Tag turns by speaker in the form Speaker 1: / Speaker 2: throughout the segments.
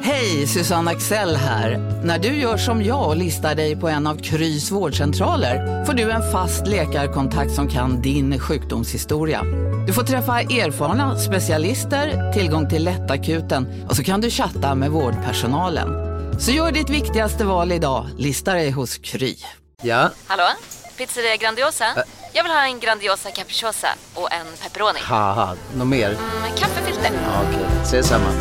Speaker 1: Hej, Susanne Axel här. När du gör som jag och listar dig på en av Krys vårdcentraler får du en fast läkarkontakt som kan din sjukdomshistoria. Du får träffa erfarna specialister, tillgång till lättakuten och så kan du chatta med vårdpersonalen. Så gör ditt viktigaste val idag, listar dig hos Kry.
Speaker 2: Ja,
Speaker 3: Hallå? Pizzeria Grandiosa? Jag vill ha en Grandiosa capriciosa och en pepperoni.
Speaker 2: haha, något mer?
Speaker 3: Med kaffefilter.
Speaker 2: Ja, Okej, ses samma.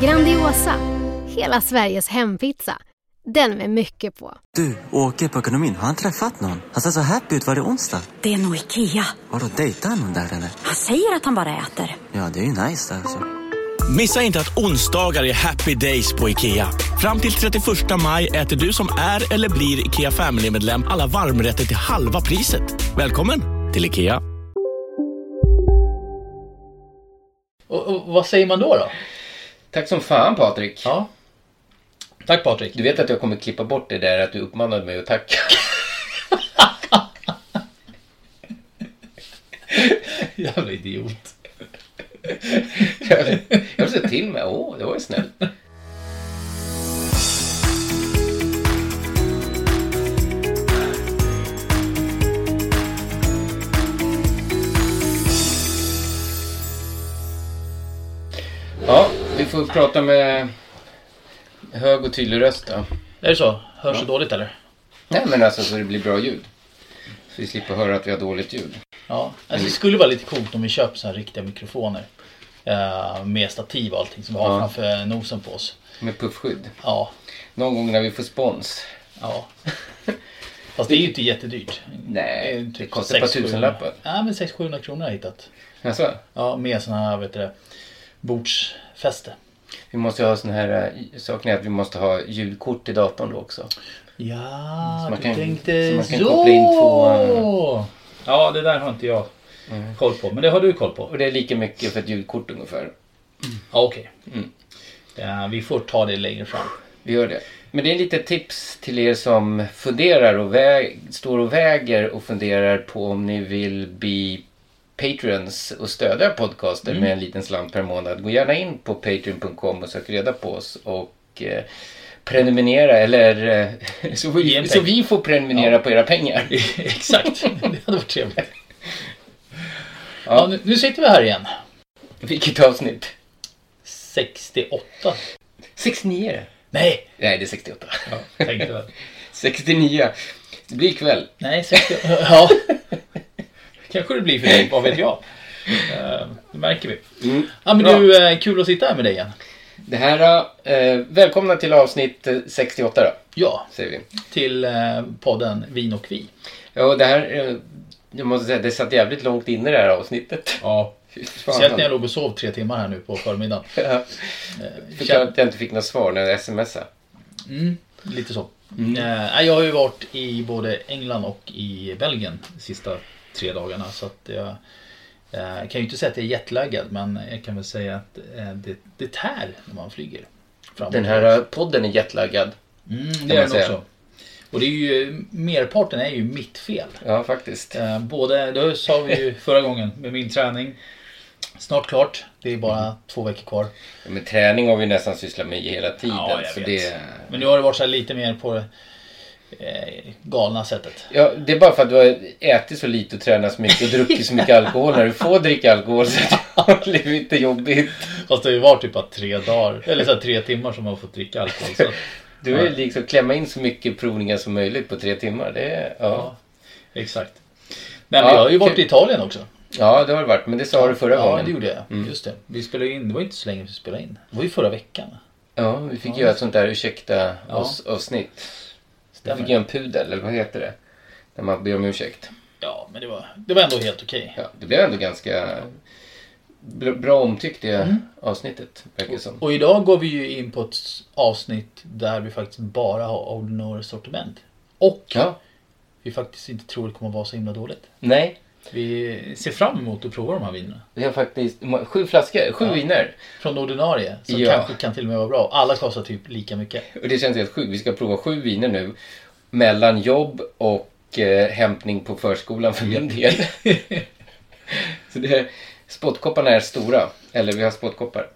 Speaker 4: Grandiosa, hela Sveriges hempizza. Den med mycket på.
Speaker 5: Du, åker på ekonomin. Har han träffat någon? Han ser så happy ut. Var det onsdag?
Speaker 6: Det är nog Ikea.
Speaker 5: Vadå, dejtar han någon där eller?
Speaker 6: Han säger att han bara äter.
Speaker 5: Ja, det är ju nice alltså.
Speaker 7: Missa inte att onsdagar är happy days på IKEA. Fram till 31 maj äter du som är eller blir IKEA Family-medlem alla varmrätter till halva priset. Välkommen till IKEA.
Speaker 8: Och, och vad säger man då? då?
Speaker 9: Tack som fan Patrik.
Speaker 8: Ja. Tack Patrik.
Speaker 9: Du vet att jag kommer klippa bort det där att du uppmanade mig att tacka.
Speaker 8: Jävla idiot.
Speaker 9: Jag jag sa till mig, åh, det var ju snällt. Ja, vi får prata med hög och tydlig röst då.
Speaker 8: Är det så? Hörs så dåligt eller?
Speaker 9: Nej men alltså så det blir bra ljud. Så vi slipper höra att vi har dåligt ljud.
Speaker 8: Ja.
Speaker 9: Mm.
Speaker 8: Alltså, det skulle vara lite coolt om vi köper så här riktiga mikrofoner. eh, med stativ och allting som vi har
Speaker 9: Ja.
Speaker 8: framför nosen på oss.
Speaker 9: Med puffskydd.
Speaker 8: Ja.
Speaker 9: Någon gång när vi får spons.
Speaker 8: ja. Fast det är ju inte jättedyrt.
Speaker 9: Nej,
Speaker 8: är typ
Speaker 9: det kostar ett par
Speaker 8: 600-700.
Speaker 9: tusenlappar.
Speaker 8: Ja, men 600-700 kronor har jag hittat.
Speaker 9: Alltså,
Speaker 8: Ja, med såna här, vet du det, bordsfäste.
Speaker 9: vi måste ju ha sån här, eh, saken är att vi måste ha ljudkort i datorn då också.
Speaker 8: Ja,
Speaker 9: Så man
Speaker 8: du
Speaker 9: kan-
Speaker 8: tänkte
Speaker 9: så man kan koppla in två,
Speaker 8: så. Ja, det där har inte jag koll på. Men det har du koll på.
Speaker 9: Och det är lika mycket för ett ljudkort ungefär.
Speaker 8: Ja, okej.
Speaker 9: Mm.
Speaker 8: Ja, vi får ta det längre fram.
Speaker 9: Vi gör det. Men det är lite tips till er som funderar och väg, står och väger och funderar på om ni vill bli Patreons och stödja podcaster
Speaker 8: Mm.
Speaker 9: med en liten slant per månad. Gå gärna in på patreon.com och sök reda på oss och eh, prenumerera eller eh, så,
Speaker 8: Ge en
Speaker 9: vi, så
Speaker 8: peng.
Speaker 9: vi får prenumerera på era pengar.
Speaker 8: Exakt, det hade varit trevligt. Ja, nu, nu sitter vi här igen.
Speaker 9: Vilket avsnitt?
Speaker 8: 68.
Speaker 9: 69
Speaker 8: Nej,
Speaker 9: Nej, det är 68.
Speaker 8: tänkte väl.
Speaker 9: 69. Det blir ikväll.
Speaker 8: Nej, 60... Ja. Kanske det blir för dig, vad vet jag. Eh, Det märker vi. Ja, men
Speaker 9: Bra.
Speaker 8: du, eh, kul att sitta här med dig igen.
Speaker 9: Det här, eh, välkomna till avsnitt eh, 68 då,
Speaker 8: Ja,
Speaker 9: säger vi.
Speaker 8: till eh, podden Vin och vi.
Speaker 9: Ja, och det här... eh, Jag måste säga, det satt jävligt långt inne det här avsnittet.
Speaker 8: Ja.
Speaker 9: Fy fan.
Speaker 8: Speciellt när jag låg och sov tre timmar här nu på förmiddagen. Eh,
Speaker 9: Ja. Fick jag att jag inte fick något svar när jag smsade.
Speaker 8: Lite så.
Speaker 9: Mm.
Speaker 8: Eh, jag har ju varit i både England och i Belgien de sista tre dagarna. Så att jag eh, kan ju inte säga att jag är jetlaggad men jag kan väl säga att eh, det, det tär när man flyger. Fram och
Speaker 9: Den
Speaker 8: tillbaka.
Speaker 9: här eh, podden är jetlaggad.
Speaker 8: mm,
Speaker 9: man
Speaker 8: det är den
Speaker 9: säga.
Speaker 8: också. Och det är ju, merparten är ju mitt fel.
Speaker 9: Ja, faktiskt.
Speaker 8: Eh, både, det sa vi ju förra gången med min träning. Snart klart. Det är bara
Speaker 9: Mm.
Speaker 8: två veckor kvar.
Speaker 9: Men träning har vi nästan sysslat med hela tiden.
Speaker 8: Ja, jag
Speaker 9: så
Speaker 8: vet.
Speaker 9: Det,
Speaker 8: Men nu har det varit så här lite mer på det eh, galna sättet.
Speaker 9: ja, det är bara för att du har ätit så lite och tränat så mycket och druckit så mycket alkohol. När du får dricka alkohol så har det blivit lite jobbigt.
Speaker 8: Fast det har ju varit typ att tre dagar, eller så här, tre timmar som man har fått dricka alkohol. Så. att-
Speaker 9: Du vill liksom klämma in så mycket provningar som möjligt på tre timmar. Det, är- ja.
Speaker 8: Ja, exakt. Nej, men
Speaker 9: Ja,
Speaker 8: jag har ju varit
Speaker 9: kul.
Speaker 8: i Italien också.
Speaker 9: ja, det har det varit. Men det sa du förra
Speaker 8: Ja,
Speaker 9: gången. Mm.
Speaker 8: det gjorde jag. Just det. Vi spelade ju in, det var inte så länge vi spelade in. Det var ju förra veckan.
Speaker 9: Ja, vi fick göra ett sånt där ursäkta
Speaker 8: Ja.
Speaker 9: oss avsnitt. Vi fick
Speaker 8: Stämmer.
Speaker 9: göra en pudel, eller vad heter det? När man ber om ursäkt.
Speaker 8: Ja, men det var, det var ändå helt okej.
Speaker 9: Ja, det blev ändå ganska bl- bra omtyckt det avsnittet, verkar det som.
Speaker 8: Mm. Och idag går vi ju in på ett avsnitt där vi faktiskt bara har ordinarie sortiment. Och
Speaker 9: Ja,
Speaker 8: vi faktiskt inte tror det kommer vara så himla dåligt.
Speaker 9: nej.
Speaker 8: Vi ser fram emot att prova de här vinerna.
Speaker 9: Vi har faktiskt må- sju flaskor, sju viner.
Speaker 8: Från ordinarie, som
Speaker 9: Ja.
Speaker 8: kanske kan till och med vara bra. Alla kostar typ lika mycket.
Speaker 9: Och det känns helt sjukt. Vi ska prova sju viner nu. Mellan jobb och eh, hämtning på förskolan för min del.
Speaker 8: Mm.
Speaker 9: Så det, spottkopparna är stora. Eller vi har spottkoppar.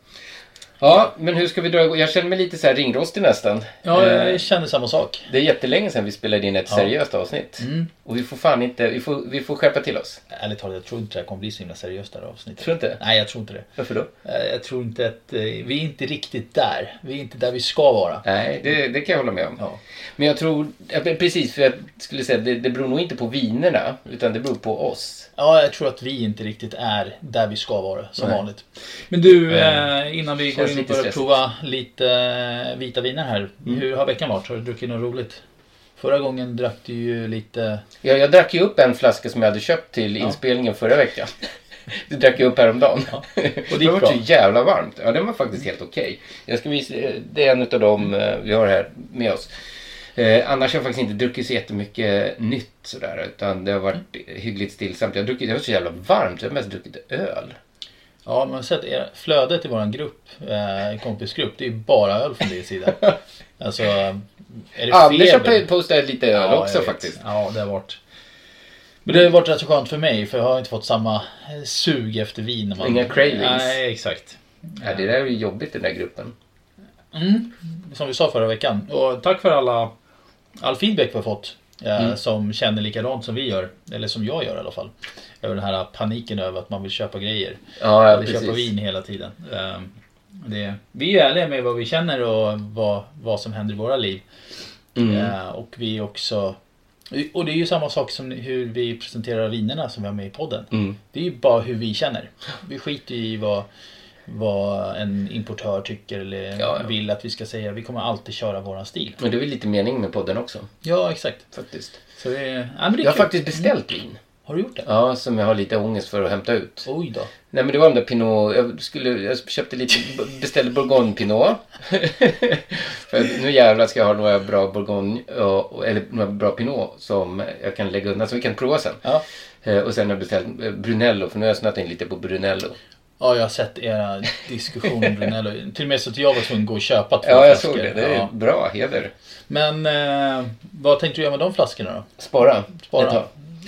Speaker 9: Ja, men hur ska vi dra igång? Jag känner mig lite så här ringrostig nästan.
Speaker 8: Ja,
Speaker 9: Eh,
Speaker 8: jag känner samma sak.
Speaker 9: Det är jättelänge sedan vi spelade in ett
Speaker 8: Ja. Mm.
Speaker 9: seriöst avsnitt. Och vi får fan inte, vi får, vi får skärpa till oss.
Speaker 8: Ärligt talat, jag tror inte det här kommer bli så himla seriöst det här avsnittet.
Speaker 9: Tror du inte?
Speaker 8: Nej, jag tror inte det.
Speaker 9: Varför då?
Speaker 8: Eh, Jag tror inte att eh, vi är inte riktigt där. Vi är inte där vi ska vara.
Speaker 9: Nej, det, det kan jag hålla med om.
Speaker 8: Ja.
Speaker 9: Men jag tror, ja, men precis, för jag skulle säga det, det beror nog inte på vinerna, utan det beror på oss.
Speaker 8: Ja, jag tror att vi inte riktigt är där vi ska vara som
Speaker 9: Nej.
Speaker 8: vanligt. Men du,
Speaker 9: Eh,
Speaker 8: eh, innan vi
Speaker 9: känns
Speaker 8: går in och
Speaker 9: lite
Speaker 8: börjar
Speaker 9: stressigt. Mm.
Speaker 8: prova lite eh, vita viner här. Hur har veckan varit? Har du druckit något roligt? Förra gången drack du ju lite...
Speaker 9: Jag, jag drack ju upp en flaska som jag hade köpt till inspelningen förra veckan. Det drack jag upp häromdagen.
Speaker 8: Ja.
Speaker 9: Och
Speaker 8: Och
Speaker 9: det
Speaker 8: det
Speaker 9: var
Speaker 8: gick bra.
Speaker 9: så jävla varmt. Ja, den var faktiskt helt okej. Jag ska visa, det är en av dem eh, vi har här med oss. Eh, annars har jag faktiskt inte druckit så jättemycket nytt sådär. Utan det har varit hyggligt stillsamt. Jag har druckit, det var så jävla varmt. Jag har mest druckit öl.
Speaker 8: Ja, men sett er, flödet i våran grupp, eh, kompisgrupp, det är ju bara öl från din sida. Alltså, är det
Speaker 9: Anders har
Speaker 8: feber?
Speaker 9: postat lite öl
Speaker 8: jag
Speaker 9: också
Speaker 8: vet.
Speaker 9: faktiskt.
Speaker 8: Ja, det har varit. Men det har varit rätt så skönt för mig för jag har inte fått samma eh, sug efter vin. när Man...
Speaker 9: Inga cravings.
Speaker 8: Nej, exakt.
Speaker 9: Ja, det där är ju jobbigt i den där gruppen.
Speaker 8: Som vi sa förra veckan. Och tack för alla, all feedback vi har fått. eh,
Speaker 9: Mm.
Speaker 8: Som känner likadant som vi gör. Eller som jag gör i alla fall. Över den här paniken över att man vill köpa grejer.
Speaker 9: Ja,
Speaker 8: Man vill köpa vin hela tiden. Eh, Det, vi är ärliga med vad vi känner och vad, vad som händer i våra liv.
Speaker 9: Mm.
Speaker 8: Eh, Och vi är också och det är ju samma sak som hur vi presenterar vinerna som vi har med i podden.
Speaker 9: Mm.
Speaker 8: Det är ju bara hur vi känner. Vi skiter ju i vad, vad en importör tycker eller
Speaker 9: Ja, ja.
Speaker 8: vill att vi ska säga. Vi kommer alltid köra våran stil.
Speaker 9: Men det är väl lite mening med podden också.
Speaker 8: Ja, exakt.
Speaker 9: Faktiskt.
Speaker 8: Så det, är- ja, men det är
Speaker 9: Jag har
Speaker 8: kul.
Speaker 9: faktiskt beställt vin.
Speaker 8: Har du gjort det?
Speaker 9: Ja, som jag har lite ångest för att hämta ut.
Speaker 8: Oj då.
Speaker 9: Nej men det var de där Pinot, jag, skulle, jag köpte lite, beställde Bourgogne Pinot. För att nu jävlar ska jag ha några bra Bourgogne, och- eller några bra Pinot som jag kan lägga undan, som vi kan prova sen.
Speaker 8: Ja.
Speaker 9: Eh, Och sen har jag beställt eh, Brunello, för nu har jag snöat in lite på Brunello.
Speaker 8: Ja, jag har sett era diskussioner om Brunello. Till och med så att jag var tvungen att gå och köpa två
Speaker 9: Ja, jag såg
Speaker 8: flaskor.
Speaker 9: det. Det är
Speaker 8: Ja.
Speaker 9: bra, heder.
Speaker 8: Men eh, vad tänkte du göra med de flaskorna då?
Speaker 9: Spara. Ett tag.
Speaker 8: Spara?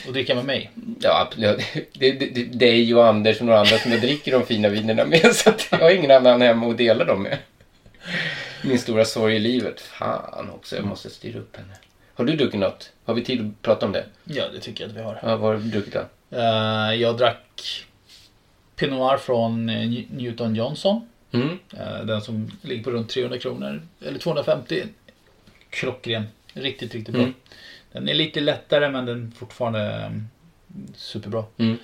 Speaker 8: Och dricka med mig?
Speaker 9: Ja, absolut. det, det, det, det är ju Anders och några andra som jag dricker de fina vinerna med. Så att jag har ingen annan hemma att dela dem med. Min stora sorg i livet. Fan också, jag måste styra upp henne. Har du druckit något? Har vi tid att prata om det?
Speaker 8: Ja, det tycker jag att vi har.
Speaker 9: Ja, vad har du druckit då?
Speaker 8: Eh, jag drack Pinot Noir från eh, New- Newton Johnson.
Speaker 9: Mm.
Speaker 8: Eh, den som ligger på runt 300 kronor. Eller 250. Klockren. Riktigt, riktigt bra.
Speaker 9: Mm.
Speaker 8: Den är lite lättare men den är fortfarande eh, superbra.
Speaker 9: Mm.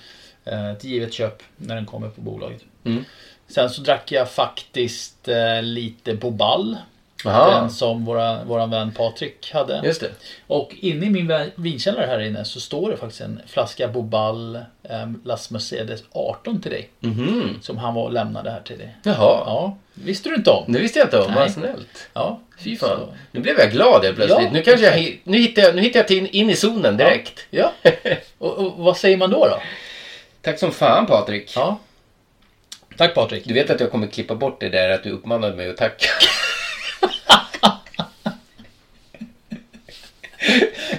Speaker 8: Eh, ett givet köp när den kommer på bolaget.
Speaker 9: Mm.
Speaker 8: Sen så drack jag faktiskt eh, lite Bobal.
Speaker 9: Aha,
Speaker 8: Den som våra, våran vän Patrik hade.
Speaker 9: just det.
Speaker 8: Och inne i min vä- vinkällare här inne så står det faktiskt en flaska Bobal um, Las Mercedes 18 till dig.
Speaker 9: Mhm.
Speaker 8: Som han var och lämnade här till dig.
Speaker 9: Jaha.
Speaker 8: Ja, visste du inte om?
Speaker 9: Det visste jag inte om. Vad
Speaker 8: Nej.
Speaker 9: snällt.
Speaker 8: Ja,
Speaker 9: Fy fan. Nu blev jag glad helt plötsligt.
Speaker 8: Ja.
Speaker 9: nu, kanske jag, hi- nu hittar jag, nu hittar jag till in i zonen direkt.
Speaker 8: Ja, och, och vad säger man då då?
Speaker 9: Tack som fan Patrik.
Speaker 8: Ja. Tack Patrik.
Speaker 9: Du vet att jag kommer klippa bort det där att du uppmanade mig att tacka.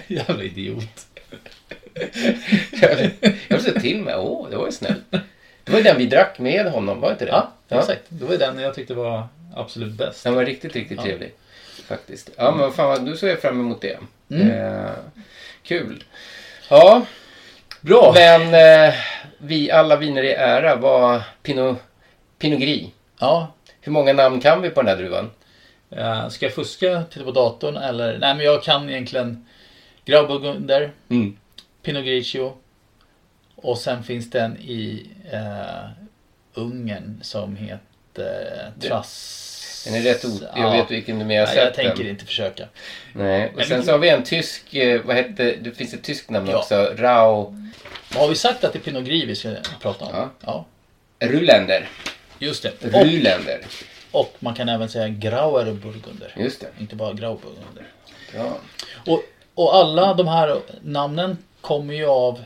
Speaker 8: Jävla idiot.
Speaker 9: Jag jag sa till mig, åh, det var ju snällt. Det var ju den vi drack med honom, var inte det?
Speaker 8: Ja, exakt. Det var ju den jag tyckte var absolut bäst.
Speaker 9: Den var riktigt, riktigt trevlig. Faktiskt. Ja, men vad fan, vad- nu ser jag fram emot det.
Speaker 8: Mm.
Speaker 9: Eh, kul. Ja,
Speaker 8: Bra.
Speaker 9: men eh, vi alla viner i ära var Pinot, Pinot Gris.
Speaker 8: Ja.
Speaker 9: Hur många namn kan vi på den här druvan?
Speaker 8: eh, Ska jag fuska? Titta på datorn eller? Nej men jag kan egentligen Grauburgunder.
Speaker 9: Mm.
Speaker 8: Pinot Grigio. Och sen finns den i eh, Ungern som heter Trass...
Speaker 9: Den är rätt o... Jag vet vilken du menar.
Speaker 8: jag,
Speaker 9: har
Speaker 8: Nej, jag
Speaker 9: sett den.
Speaker 8: tänker inte försöka.
Speaker 9: Nej, och
Speaker 8: Men
Speaker 9: sen
Speaker 8: vi-
Speaker 9: så har vi en tysk, eh, vad hette, det finns ett tyskt namn
Speaker 8: Ja.
Speaker 9: också, Rau
Speaker 8: Har vi sagt att det är Pinot Gris vi ska prata om?
Speaker 9: Ja.
Speaker 8: ja
Speaker 9: Ruländer.
Speaker 8: just det.
Speaker 9: Ruländer,
Speaker 8: Och, och man kan även säga Grauer Burgunder.
Speaker 9: just det.
Speaker 8: Inte bara Grauburgunder.
Speaker 9: Ja.
Speaker 8: Och, och alla de här namnen kommer ju av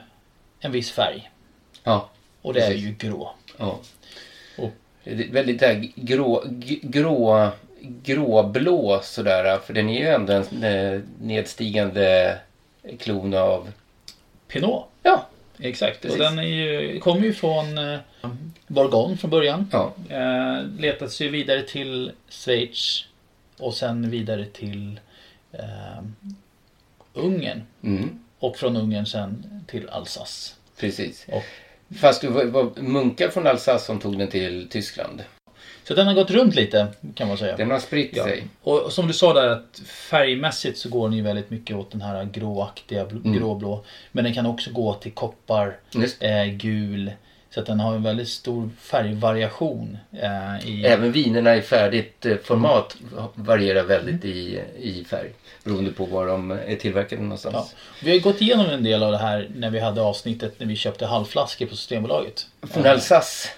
Speaker 8: en viss färg.
Speaker 9: Ja.
Speaker 8: Och det är
Speaker 9: Precis.
Speaker 8: ju grå.
Speaker 9: ja.
Speaker 8: Och-
Speaker 9: Det är väldigt där grå, g- grå, gråblå sådär. För den är ju ändå en eh, nedstigande klon av...
Speaker 8: Pinot.
Speaker 9: Ja,
Speaker 8: Exakt,
Speaker 9: Precis.
Speaker 8: och den är ju, kommer ju från eh, Bourgogne från början.
Speaker 9: Ja.
Speaker 8: Eh, letas ju vidare till Schweiz och sen vidare till eh, Ungern.
Speaker 9: Mm.
Speaker 8: Och från Ungern sen till Alsace.
Speaker 9: Precis.
Speaker 8: Och-
Speaker 9: Fast det var- var munkar från Alsace som tog den till Tyskland.
Speaker 8: Så den har gått runt lite kan man säga.
Speaker 9: Den har spritt
Speaker 8: Ja.
Speaker 9: sig.
Speaker 8: Och som du sa där att färgmässigt så går den ju väldigt mycket åt den här gråaktiga, bl-
Speaker 9: Mm.
Speaker 8: gråblå. Men den kan också gå till koppar,
Speaker 9: Just.
Speaker 8: eh, gul. Så att den har en väldigt stor färgvariation. Eh, i...
Speaker 9: Även vinerna i färdigt eh, format varierar väldigt i, i färg. Beroende på var de är tillverkade någonstans.
Speaker 8: Ja. Vi har ju gått igenom en del av det här när vi hade avsnittet när vi köpte halvflaskor på Systembolaget.
Speaker 9: Från Alsace.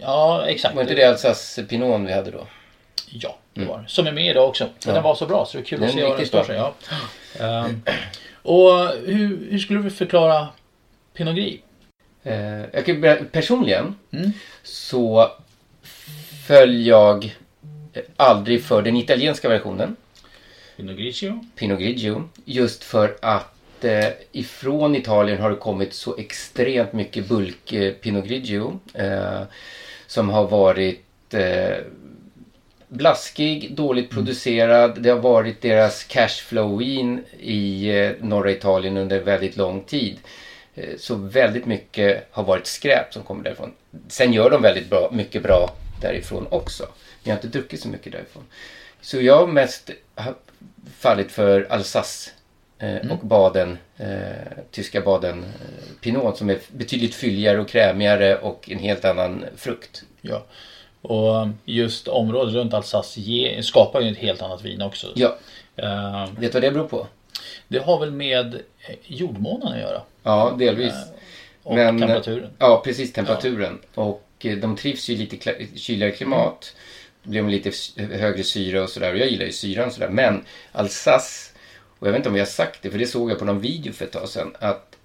Speaker 8: Ja, exakt.
Speaker 9: Var inte det Alsace Pinon vi hade då?
Speaker 8: Ja, det var det. Som är med idag också. Men den var så bra så det är kul
Speaker 9: Den
Speaker 8: att
Speaker 9: är
Speaker 8: se vad den
Speaker 9: riktigt
Speaker 8: står
Speaker 9: bra.
Speaker 8: sig. Ja. Ehm, och hur, hur skulle du förklara Pinot Gris?
Speaker 9: Eh, jag kan ju berätta, personligen så föll jag eh, aldrig för den italienska versionen,
Speaker 8: Pinot Grigio?
Speaker 9: Pinot Grigio, just för att eh, ifrån Italien har det kommit så extremt mycket bulk eh, Pinot Grigio eh, som har varit eh, blaskig, dåligt producerad. Det har varit deras cashflow-in i eh, norra Italien under väldigt lång tid. Eh, Så väldigt mycket har varit skräp som kommer därifrån. Sen gör de väldigt bra, mycket bra därifrån också. Men jag har inte druckit så mycket därifrån. Så jag har mest ha- fallit för Alsace eh, och Baden, eh, tyska Baden eh, Pinot som är betydligt fylligare och krämigare och en helt annan frukt.
Speaker 8: Ja. Och just området runt Alsace ge, skapar ju ett helt annat vin också.
Speaker 9: Ja,
Speaker 8: Ehm,
Speaker 9: vet du vad det beror på?
Speaker 8: det har väl med eh, jordmånen att göra.
Speaker 9: Ja, delvis.
Speaker 8: Eh,
Speaker 9: eh,
Speaker 8: Och temperaturen.
Speaker 9: Ja, precis. Temperaturen. Och eh, de trivs ju i lite kla- kyligare klimat. Då blir de lite s- högre syra och sådär. Och jag gillar ju syran och sådär. Men Alsace, och jag vet inte om jag har sagt det, för det såg jag på någon video för ett tag sedan, att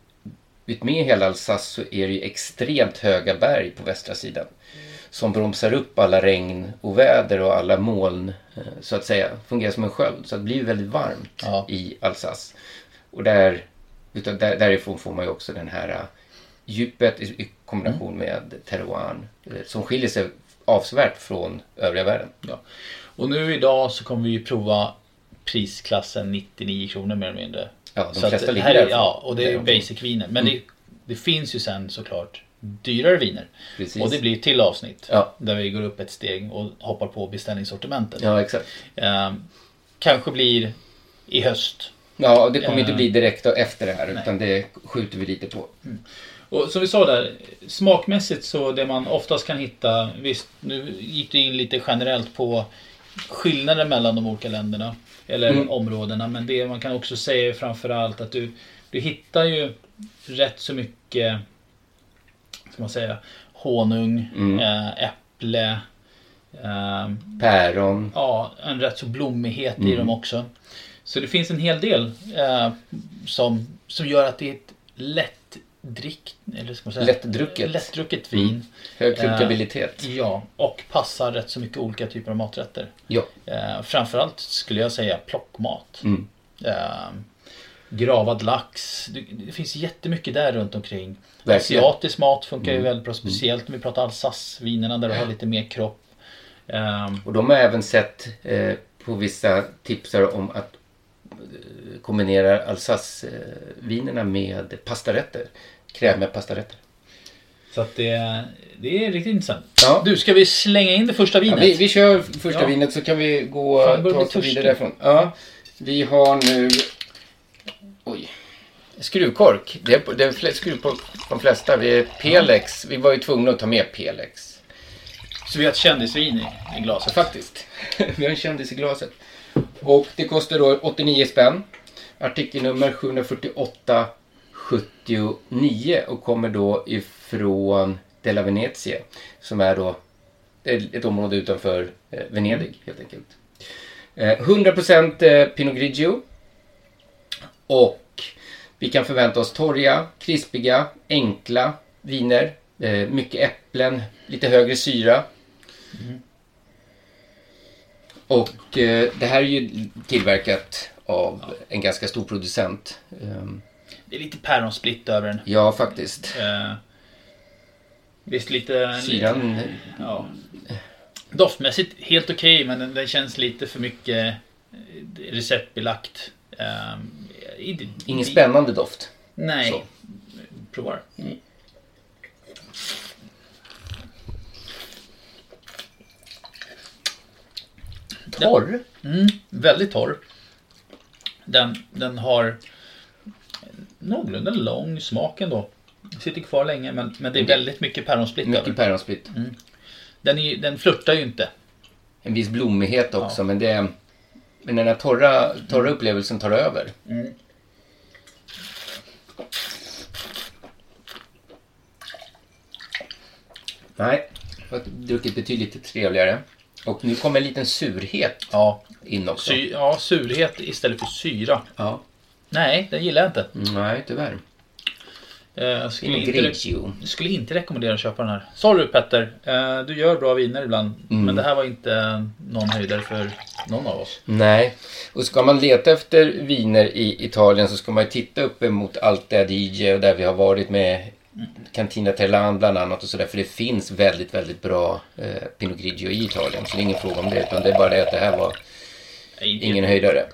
Speaker 9: utmed hela Alsace så är det ju extremt höga berg på västra sidan. Som bromsar upp alla regn och väder och alla moln, eh, så att säga. Fungerar som en sköld. Så det blir väldigt varmt
Speaker 8: Ja.
Speaker 9: i Alsace. Och där, utav, där, därifrån får man ju också den här eh, djupet i, i kombination
Speaker 8: Mm.
Speaker 9: med terroirn eh, som skiljer sig avsevärt från övriga världen.
Speaker 8: Ja. Och nu idag så kommer vi ju prova prisklassen 99 kronor mer eller mindre.
Speaker 9: Ja, de
Speaker 8: Så att
Speaker 9: flesta
Speaker 8: det
Speaker 9: ligger Mm.
Speaker 8: här är-
Speaker 9: där.
Speaker 8: Ja, och det är ju
Speaker 9: Däromkring.
Speaker 8: basic-viner. Men det, det finns ju sen såklart dyrare viner.
Speaker 9: Precis.
Speaker 8: Och det blir ett till avsnitt
Speaker 9: Ja.
Speaker 8: där vi går upp ett steg och hoppar på beställningssortimentet.
Speaker 9: Ja, exakt.
Speaker 8: Ehm, kanske blir i höst.
Speaker 9: Ja, och det kommer
Speaker 8: Eh, Mm.
Speaker 9: inte bli direkt efter det här utan det skjuter vi lite på.
Speaker 8: Och som vi sa där, smakmässigt så det man oftast kan hitta, visst nu gick du in lite generellt på skillnader mellan de olika länderna eller områdena men det man kan också säga är framförallt att du, du hittar ju rätt så mycket, ska man säga, honung, eh, äpple, eh,
Speaker 9: Päron,
Speaker 8: ja, en rätt så blommighet
Speaker 9: Mm.
Speaker 8: i dem också. Så det finns en hel del eh, som, som gör att det är ett lätt drick, eller ska man säga,
Speaker 9: Lättdrucket. Mm.
Speaker 8: lättdrucket vin. Eh,
Speaker 9: hög klunkabilitet.
Speaker 8: Ja, och passar rätt så mycket olika typer av maträtter.
Speaker 9: Ja,
Speaker 8: Eh, framförallt skulle jag säga plockmat.
Speaker 9: Mm.
Speaker 8: Eh, gravad lax. Det, det finns jättemycket där runt omkring.
Speaker 9: Verkligen. Mm.
Speaker 8: Asiatisk mat funkar ju väldigt bra, speciellt om vi pratar Alsace-vinerna där du har lite mer kropp. Ehm,
Speaker 9: och de har även sett eh, på vissa tipsar om att eh, kombinera Alsace-vinerna med pastarätter. Krämiga pastarätter.
Speaker 8: Så att det, det är riktigt intressant.
Speaker 9: Ja.
Speaker 8: Du, ska vi slänga in det första
Speaker 9: Ja,
Speaker 8: vinet?
Speaker 9: vi, vi kör första
Speaker 8: Ja.
Speaker 9: vinet så kan vi gå
Speaker 8: Fan, jag börjar
Speaker 9: ta
Speaker 8: bli
Speaker 9: oss vidare
Speaker 8: törstig.
Speaker 9: därifrån. Ja, vi har nu... Oj. Skruvkork. Det är, på- det är fl- skruvkork på de flesta. Vi är Pelex. Vi var ju tvungna att ta med Pelex.
Speaker 8: Så vi har ett kändisvin i, i glaset.
Speaker 9: Faktiskt. vi har en kändis i glaset. Och det kostar då 89 spänn. Artikelnummer 74879 och kommer då ifrån Della Venezia som är då ett område utanför eh, Venedig helt enkelt. Eh, 100% eh, Pinot Grigio. Och vi kan förvänta oss torra, krispiga, enkla viner. Eh, Mycket äpplen, lite högre syra. Och eh, det här är ju tillverkat av en ganska stor producent. ehm,
Speaker 8: Det är lite päronsplitt över den.
Speaker 9: Ja, faktiskt.
Speaker 8: Eh, visst lite...
Speaker 9: Syran...
Speaker 8: Ja. Doftmässigt helt okej men den, den känns lite för mycket eh, receptbelagt. Eh, inte-
Speaker 9: Ingen spännande doft.
Speaker 8: Nej.
Speaker 9: Så.
Speaker 8: Provar.
Speaker 9: Torr?
Speaker 8: Mm, väldigt torr. Den, den har någorlunda lång smak ändå. Sitter kvar länge men, men det är väldigt mycket päronsplitt över
Speaker 9: Mm. Mycket
Speaker 8: den.
Speaker 9: päronsplitt.
Speaker 8: Den, är, ju- den flörtar ju inte.
Speaker 9: En viss blommighet också, men det... Men den här torra, torra upplevelsen tar över.
Speaker 8: Mm.
Speaker 9: Nej, jag har druckit betydligt trevligare. Och nu kommer en liten surhet
Speaker 8: Ja,
Speaker 9: in också.
Speaker 8: sy, ja surhet istället för syra.
Speaker 9: Ja.
Speaker 8: Nej, den gillar jag inte.
Speaker 9: Nej, tyvärr.
Speaker 8: Eh, Jag skulle, inte re-
Speaker 9: Grigio.
Speaker 8: jag skulle inte rekommendera att köpa den här. Sorry Petter, eh, du gör bra viner ibland.
Speaker 9: Mm.
Speaker 8: Men det här var inte någon höjdare för någon av oss.
Speaker 9: Nej, och ska man leta efter viner i Italien så ska man ju titta upp emot Alta Adige och där vi har varit med Cantina Terlan bland annat och sådär. För det finns väldigt, väldigt bra eh, Pinot Grigio i Italien. Så det är ingen fråga om det utan det är bara det att det här var
Speaker 8: Nej, inte-
Speaker 9: ingen höjdare.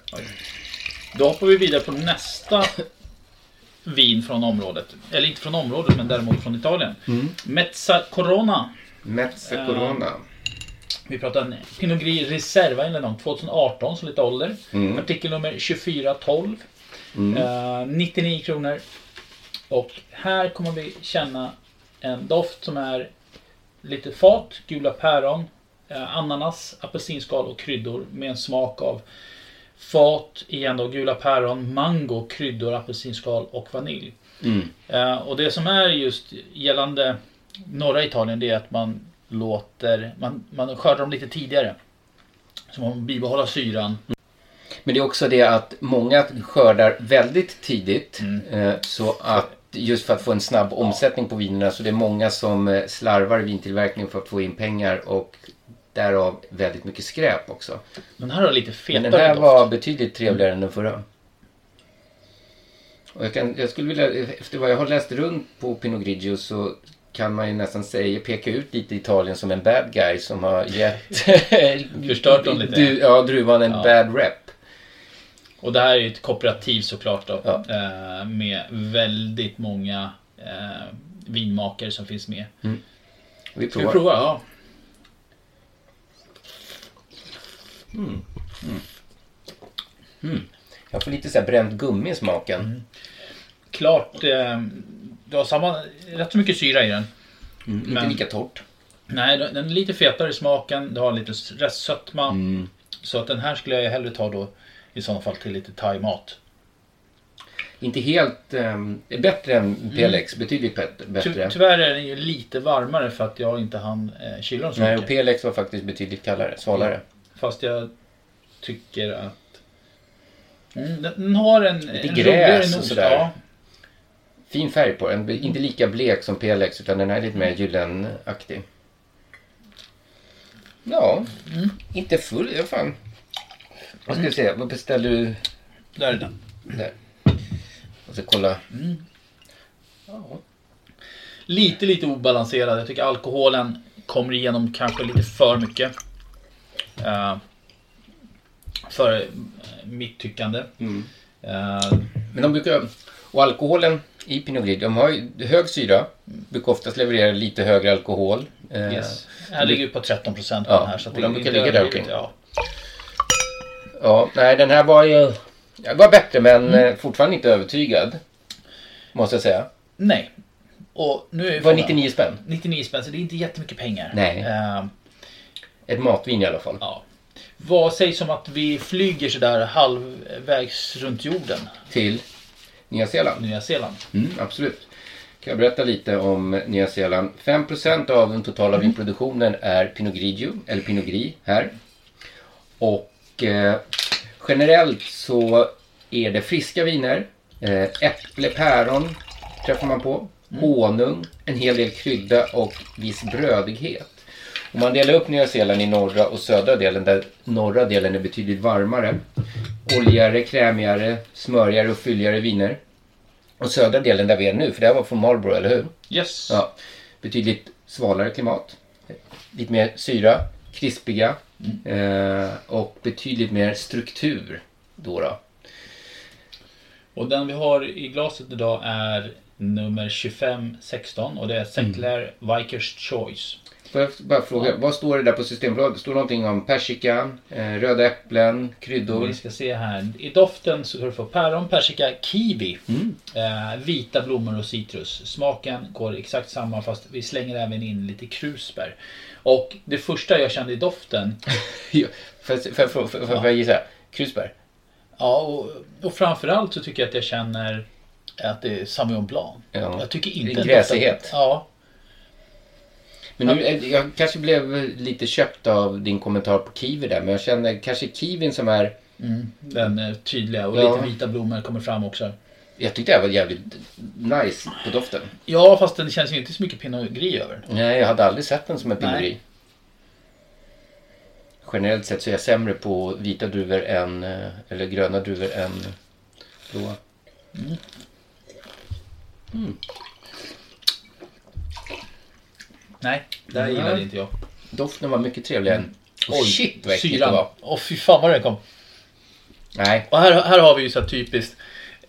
Speaker 8: Då hoppar vi vidare på nästa vin från området. Eller inte från området men däremot från Italien. Mezza Corona.
Speaker 9: Mezza Corona.
Speaker 8: Vi pratar en Pinot Gris Reserva eller någon, 2018 som lite ålder. Artikelnummer 2412. Eh, 99 kronor. Och här kommer vi känna en doft som är lite fat, gula päron, eh, ananas, apelsinskal och kryddor med en smak av fat, igen då, gula päron, mango, kryddor, apelsinskal och vanilj. Eh, och det som är just gällande norra Italien det är att man låter, man, man skördar dem lite tidigare. Så man bibehåller syran.
Speaker 9: Men det är också det att många skördar väldigt tidigt.
Speaker 8: Mm.
Speaker 9: Eh, så att just för att få en snabb omsättning på vinerna så det är många som eh, slarvar i vintillverkningen för att få in pengar och därav väldigt mycket skräp också.
Speaker 8: Den här har lite fetare
Speaker 9: Men den här
Speaker 8: doft.
Speaker 9: var betydligt trevligare än den förra. Och jag, kan, jag skulle vilja, efter vad jag har läst runt på Pinot Grigio så kan man ju nästan säga, peka ut lite Italien som en bad guy som har gett
Speaker 8: Förstört dem lite.
Speaker 9: Du, ja, druvan en
Speaker 8: Ja.
Speaker 9: bad rep.
Speaker 8: Och det här är ju ett kooperativ såklart då.
Speaker 9: Ja.
Speaker 8: Eh, med väldigt många eh, vinmakare som finns med.
Speaker 9: Mm. Vi
Speaker 8: Ska vi
Speaker 9: provar.
Speaker 8: prova? Ja.
Speaker 9: Jag får lite så här bränt gummi i smaken.
Speaker 8: Mm. Klart, eh, du har samma, rätt så mycket syra i den.
Speaker 9: Inte
Speaker 8: Men-
Speaker 9: lika torrt.
Speaker 8: Nej, den den är lite fetare i smaken. Du har lite s- restsötma.
Speaker 9: Mm.
Speaker 8: Så att den här skulle jag hellre ta då i sådana fall till lite thaimat.
Speaker 9: Inte helt... ehm, bättre än Pelex. Betydligt bet-
Speaker 8: Mm. Ty
Speaker 9: bättre.
Speaker 8: tyvärr är den ju lite varmare för att jag inte hann eh, kyla den så
Speaker 9: Nej, och
Speaker 8: mycket.
Speaker 9: Pelex var faktiskt betydligt kallare. Svalare.
Speaker 8: Fast jag tycker att... Mm, den- den har en... Lite en
Speaker 9: gräs
Speaker 8: roligare
Speaker 9: och
Speaker 8: nos,
Speaker 9: sådär.
Speaker 8: Ja,
Speaker 9: Fin färg på den. Inte
Speaker 8: Mm.
Speaker 9: lika blek som Pelex utan den här är lite mer gyllenaktig. Ja,
Speaker 8: Mm.
Speaker 9: inte full. Ja, fan. Vad ska vi se? Vad beställde du
Speaker 8: där är den.
Speaker 9: där? Jag ska kolla.
Speaker 8: Lite, lite obalanserad. Jag tycker alkoholen kommer igenom kanske lite för mycket. Eh, för eh, mitt tyckande.
Speaker 9: Mm.
Speaker 8: Eh,
Speaker 9: Men de brukar... Och alkoholen i Pinot Grigio, de har ju hög syra. Brukar oftast leverera lite högre alkohol. Eh,
Speaker 8: Yes. Här ligger vi på 13 procent på
Speaker 9: Ja,
Speaker 8: den här. Så att
Speaker 9: och
Speaker 8: det
Speaker 9: de
Speaker 8: är
Speaker 9: brukar
Speaker 8: inte
Speaker 9: ligga där
Speaker 8: överdrivet,
Speaker 9: omkring.
Speaker 8: ja.
Speaker 9: Ja, nej den här var ju... Den var bättre men eh, fortfarande inte övertygad. Måste jag säga.
Speaker 8: Nej. Och nu är
Speaker 9: Det var
Speaker 8: frågan-
Speaker 9: 99 spänn.
Speaker 8: 99 spänn, så det är inte jättemycket pengar.
Speaker 9: Nej.
Speaker 8: Eh,
Speaker 9: Ett matvin i alla fall.
Speaker 8: ja. Vad sägs om att vi flyger sådär halvvägs runt jorden,
Speaker 9: Till Nya Zeeland.
Speaker 8: Nya Zeeland?
Speaker 9: Mm, absolut. Kan jag berätta lite om Nya Zeeland. 5% av den totala vinproduktionen är Pinot Grigio, eller Pinot Gris här. Och eh, generellt så är det friska viner. Eh, äpple, päron träffar man på. Honung, en hel del krydda och viss brödighet. Om man delar upp Nya Zeeland i norra och södra delen där norra delen är betydligt varmare. Oljigare, krämigare, smörigare och fylligare viner. Och södra delen där vi är nu, för det här var från Marlborough, eller hur?
Speaker 8: Yes.
Speaker 9: Ja. Betydligt svalare klimat. Lite mer syra, krispiga eh, och betydligt mer struktur. Då då.
Speaker 8: Och den vi har i glaset idag är nummer 2516 och det är Sinclair
Speaker 9: Mm.
Speaker 8: Vikers Choice.
Speaker 9: Får jag bara fråga, vad står det där på Systembolaget? Står det någonting om persika, eh, röda äpplen, kryddor?
Speaker 8: Vi ska se här. I doften så ska du få päron, persika, kiwi,
Speaker 9: Mm.
Speaker 8: eh, vita blommor och citrus. Smaken går exakt samma fast vi slänger även in lite krusbär. Och det första jag kände i doften,
Speaker 9: Ja, Får jag- får jag- får jag- får jag- får jag gissa? Krusbär?
Speaker 8: ja och, och framförallt så tycker jag att jag känner att det är Sauvignon Blanc.
Speaker 9: Ja.
Speaker 8: Jag tycker
Speaker 9: En
Speaker 8: inte att
Speaker 9: gräsighet.
Speaker 8: doften- Ja,
Speaker 9: Men nu, eh, jag kanske blev lite köpt av din kommentar på kiwi där, men jag känner kanske kiwin som är...
Speaker 8: den är tydliga och
Speaker 9: Ja.
Speaker 8: lite vita blommor kommer fram också.
Speaker 9: Jag tyckte det här var jävligt nice på doften.
Speaker 8: Ja, fast den känns ju inte så mycket Pinot Gris över.
Speaker 9: Nej, jag hade aldrig sett den som en
Speaker 8: Nej.
Speaker 9: pinot gris. Generellt sett så är jag sämre på vita druvor än, eh, eller gröna druvor än blåa. Mm.
Speaker 8: Nej, det här gillade inte jag.
Speaker 9: Doften var mycket trevligare än... Oj, shit vad äckligt det
Speaker 8: Mm. Syran.
Speaker 9: var.
Speaker 8: Åh fy fan vad den kom.
Speaker 9: Nej,
Speaker 8: Och här, här har vi ju så här typiskt.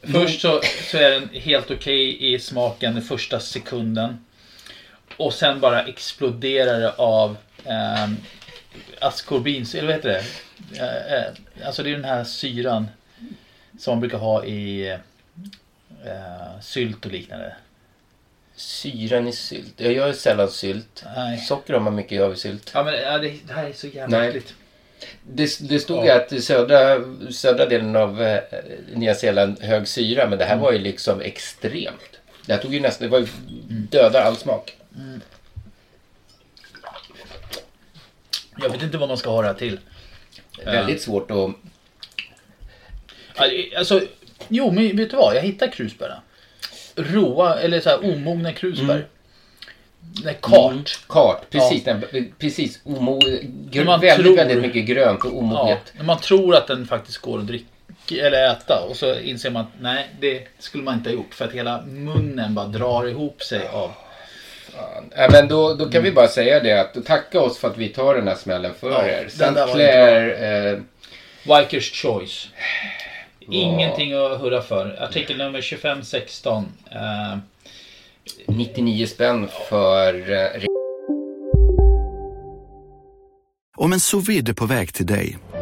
Speaker 8: Först så, så är den helt okej i smaken den första sekunden. Och sen bara exploderar det av eh, askorbins, eller vad heter det? Eh, eh, alltså det är den här syran som man brukar ha i eh, sylt och liknande.
Speaker 9: syran i sylt. Jag gör sällan sylt.
Speaker 8: Nej.
Speaker 9: Socker har man mycket av i sylt.
Speaker 8: Ja men ja, det, det här är så jävla
Speaker 9: Nej.
Speaker 8: äckligt.
Speaker 9: Det, det stod
Speaker 8: Ja.
Speaker 9: ju att i södra, södra delen av eh, Nya Zeeland hög syra, men det
Speaker 8: Mm.
Speaker 9: här var ju liksom extremt. Det här tog ju nästan, det var ju
Speaker 8: Mm.
Speaker 9: döda all smak.
Speaker 8: Jag vet inte vad man ska ha det här till.
Speaker 9: Väldigt svårt att...
Speaker 8: Ja, Alltså, jo men vet du vad? Jag hittar krusbären. Råa eller så här omogna krusbär. Nej, kart.
Speaker 9: Mm. Kart, precis. Den, precis omo,
Speaker 8: Men
Speaker 9: gr-
Speaker 8: man
Speaker 9: väldigt,
Speaker 8: tror-
Speaker 9: väldigt mycket grönt och
Speaker 8: Ja,
Speaker 9: omoget.
Speaker 8: när man tror att den faktiskt går att dricka eller äta och så inser man att nej, det skulle man inte ha gjort för att hela munnen bara drar ihop sig av.
Speaker 9: Ja, men då, då kan vi bara säga det att tacka oss för att vi tar den här smällen för
Speaker 8: Ja,
Speaker 9: er.
Speaker 8: den där var
Speaker 9: Sinclair, eh,
Speaker 8: Vikers Choice. Ingenting att hurra för. Artikel nummer 2516. Eh,
Speaker 9: 99 spänn för eh,
Speaker 5: Om en sous vide är på väg till dig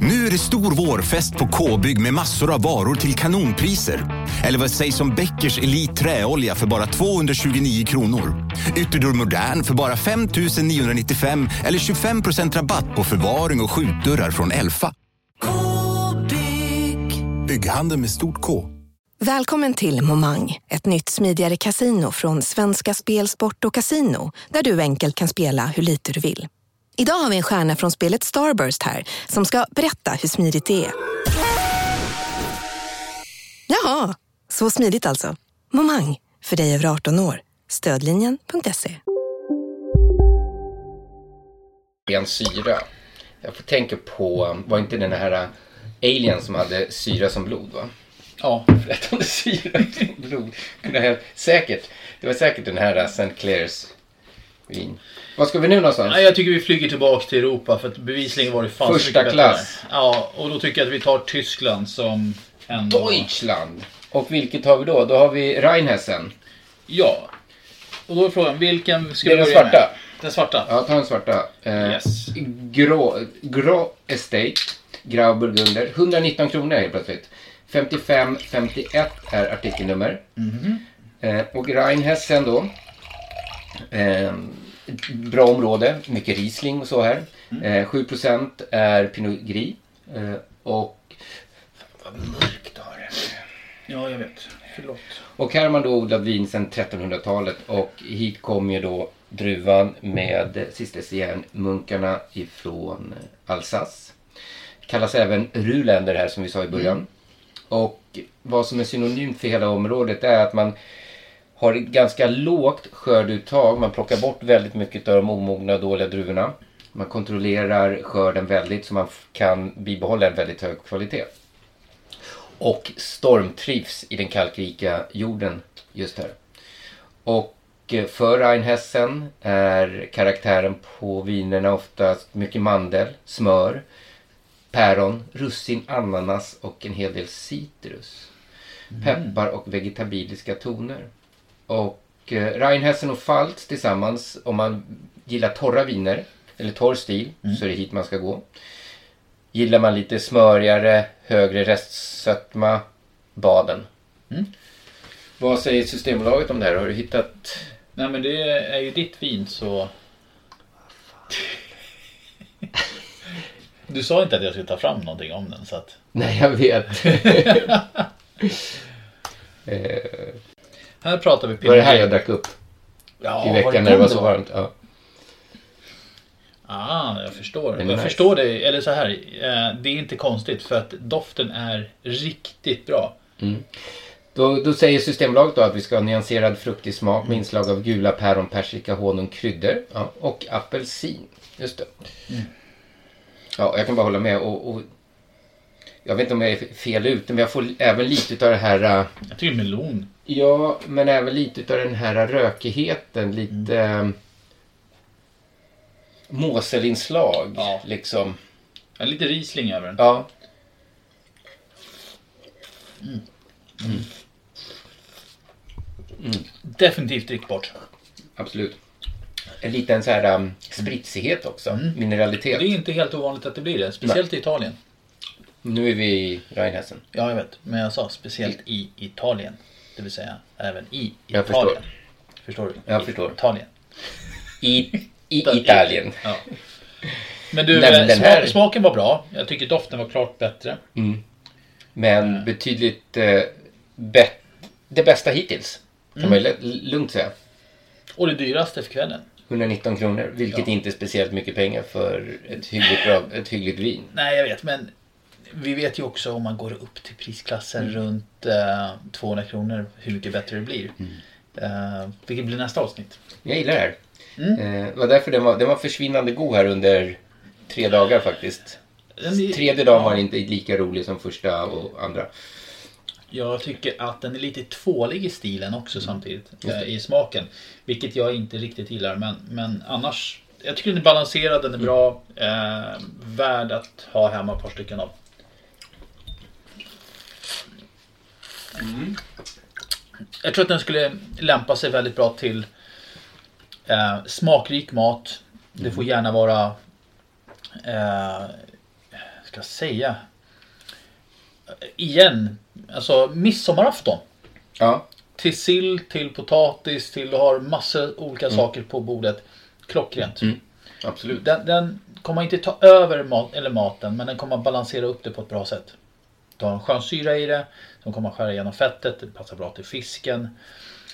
Speaker 10: Nu är det stor vårfest på K-bygg med massor av varor till kanonpriser. Eller vad sägs om Bäckers Elite Träolja för bara 229 kronor? Ytterdörr Modern för bara 5 995 eller 25 rabatt på förvaring och skjutdörrar från Elfa. K-bygg. Bygghandeln med stort K.
Speaker 11: Välkommen till Momang, ett nytt smidigare kasino från Svenska Spel, Sport och Casino där du enkelt kan spela hur lite du vill. Idag har vi en stjärna från spelet Starburst här som ska berätta hur smidigt det är. Jaha, så smidigt alltså. Momang, för dig över 18 år. Stödlinjen.se.
Speaker 9: ren syra. Jag får tänka på, var inte den här eh, alien som hade syra som blod va?
Speaker 8: ja,
Speaker 9: Flätande syra som blod. Kunde ha, säkert. Det var säkert den här St. Clairs vin. Vad ska vi nu någonstans?
Speaker 8: Nej, jag tycker vi flyger tillbaka till Europa för att bevisligen var det fan så
Speaker 9: Första
Speaker 8: mycket bättre
Speaker 9: klass.
Speaker 8: där. Ja, och då tycker jag att vi tar Tyskland som ändå...
Speaker 9: Deutschland. Och vilket har vi då? Då har vi Rheinhessen.
Speaker 8: Ja. Och då är frågan, vilken ska
Speaker 9: Det
Speaker 8: vi
Speaker 9: är den
Speaker 8: börja
Speaker 9: svarta.
Speaker 8: med? Den svarta?
Speaker 9: Ja, ta den svarta. Eh,
Speaker 8: Yes.
Speaker 9: Grå, grå Estate, Grau Burgunder. 119 kronor helt plötsligt. 5551 är artikelnummer. Eh, och Rheinhessen då. Eh, bra område, mycket Riesling och så här. Eh, 7% är Pinot Gris. Eh, och
Speaker 8: Ja, jag vet. Förlåt.
Speaker 9: Och här har man då odlat vin sedan 1300-talet och hit kom ju då druvan med cistercienmunkarna ifrån Alsace. Kallas även Ruländer här som vi sa i början. Och vad som är synonymt för hela området är att man har ett ganska lågt skörduttag. Man plockar bort väldigt mycket av de omogna och dåliga druvorna. Man kontrollerar skörden väldigt så man f- kan bibehålla en väldigt hög kvalitet. Och stormtrivs i den kalkrika jorden just här. Och eh, för Rheinhessen är karaktären på vinerna oftast mycket mandel, smör, päron, russin, ananas och en hel del citrus. Peppar och vegetabiliska toner. Och eh, Rheinhessen och Pfalz tillsammans, om man gillar torra viner, eller torr stil, så är det hit man ska gå. Gillar man lite smörigare, högre restsötma, Baden. Vad säger Systembolaget om det här? Har du hittat...
Speaker 8: Nej men det är ju ditt vin så... Du sa inte att jag skulle ta fram någonting om den så att...
Speaker 9: Nej, jag vet.
Speaker 8: Här pratar vi
Speaker 9: Det var det här jag drack upp
Speaker 8: Ja,
Speaker 9: i
Speaker 8: var
Speaker 9: veckan
Speaker 8: det
Speaker 9: när det var
Speaker 8: den
Speaker 9: så varmt. Ja.
Speaker 8: Ah, jag förstår.
Speaker 9: Den är
Speaker 8: Jag
Speaker 9: nice.
Speaker 8: förstår dig. Eller så här, eh, det är inte konstigt för att doften är riktigt bra.
Speaker 9: Då, då säger Systembolaget då att vi ska ha nyanserad fruktig smak med inslag av gula päron, persika, honung, kryddor ja, och apelsin. Just det. Mm. Ja, jag kan bara hålla med. Och, och, jag vet inte om jag är fel ute, men jag får även lite av det här... eh,
Speaker 8: Jag tycker melon.
Speaker 9: Ja, men även lite utav den här rökigheten, lite mm. måselinslag.
Speaker 8: Ja.
Speaker 9: Liksom.
Speaker 8: Jag har lite risling över den.
Speaker 9: Ja.
Speaker 8: Definitivt drickbart.
Speaker 9: Absolut. En liten så här um, spritsighet också,
Speaker 8: Mm. Det
Speaker 9: mineralitet.
Speaker 8: är inte helt ovanligt att det blir det. Speciellt i Italien.
Speaker 9: Nu är vi i Rheinhessen.
Speaker 8: Ja, jag vet. Men jag sa speciellt i Italien. Det vill säga även i Italien.
Speaker 9: Jag
Speaker 8: Förstår du?
Speaker 9: Jag
Speaker 8: I
Speaker 9: förstår.
Speaker 8: Italien.
Speaker 9: I, i Italien.
Speaker 8: Ja. Men du,
Speaker 9: Nej, men
Speaker 8: eh,
Speaker 9: den
Speaker 8: sma-
Speaker 9: här-
Speaker 8: smaken var bra. Jag tycker doften var klart bättre.
Speaker 9: Men betydligt eh, bett- det bästa hittills. Kan man ju lätt- lugnt säga.
Speaker 8: Och det dyraste för kvällen.
Speaker 9: 119 kronor, vilket inte är speciellt mycket pengar för ett hyggligt, bra, ett hyggligt vin.
Speaker 8: Nej, jag vet, men vi vet ju också om man går upp till prisklasser runt eh, 200 kronor hur mycket bättre det blir. Eh, vilket blir nästa avsnitt.
Speaker 9: Jag gillar det här.
Speaker 8: Mm.
Speaker 9: Eh, det var därför den var, den var försvinnande god här under tre dagar faktiskt.
Speaker 8: Den är-
Speaker 9: Tredje dagen var inte lika rolig som första och andra.
Speaker 8: Jag tycker att den är lite tvålig i stilen också samtidigt.
Speaker 9: Mm. Just det.
Speaker 8: eh, I smaken. Vilket jag inte riktigt gillar. Men, men annars. Jag tycker den är balanserad, den är
Speaker 9: Mm.
Speaker 8: bra. Eh, värd att ha hemma ett par stycken av.
Speaker 9: Mm.
Speaker 8: Jag tror att den skulle lämpa sig väldigt bra till eh, smakrik mat. Det
Speaker 9: Mm.
Speaker 8: får gärna vara... Eh, ska jag säga? igen, alltså midsommarafton.
Speaker 9: Ja,
Speaker 8: Till sill, till potatis, till du har massor olika
Speaker 9: Mm.
Speaker 8: saker på bordet. Klockrent.
Speaker 9: absolut.
Speaker 8: Den, den kommer inte ta över mat, eller maten, men den kommer balansera upp det på ett bra sätt. Du har en skön syra i det, som kommer skära igenom fettet, det passar bra till fisken.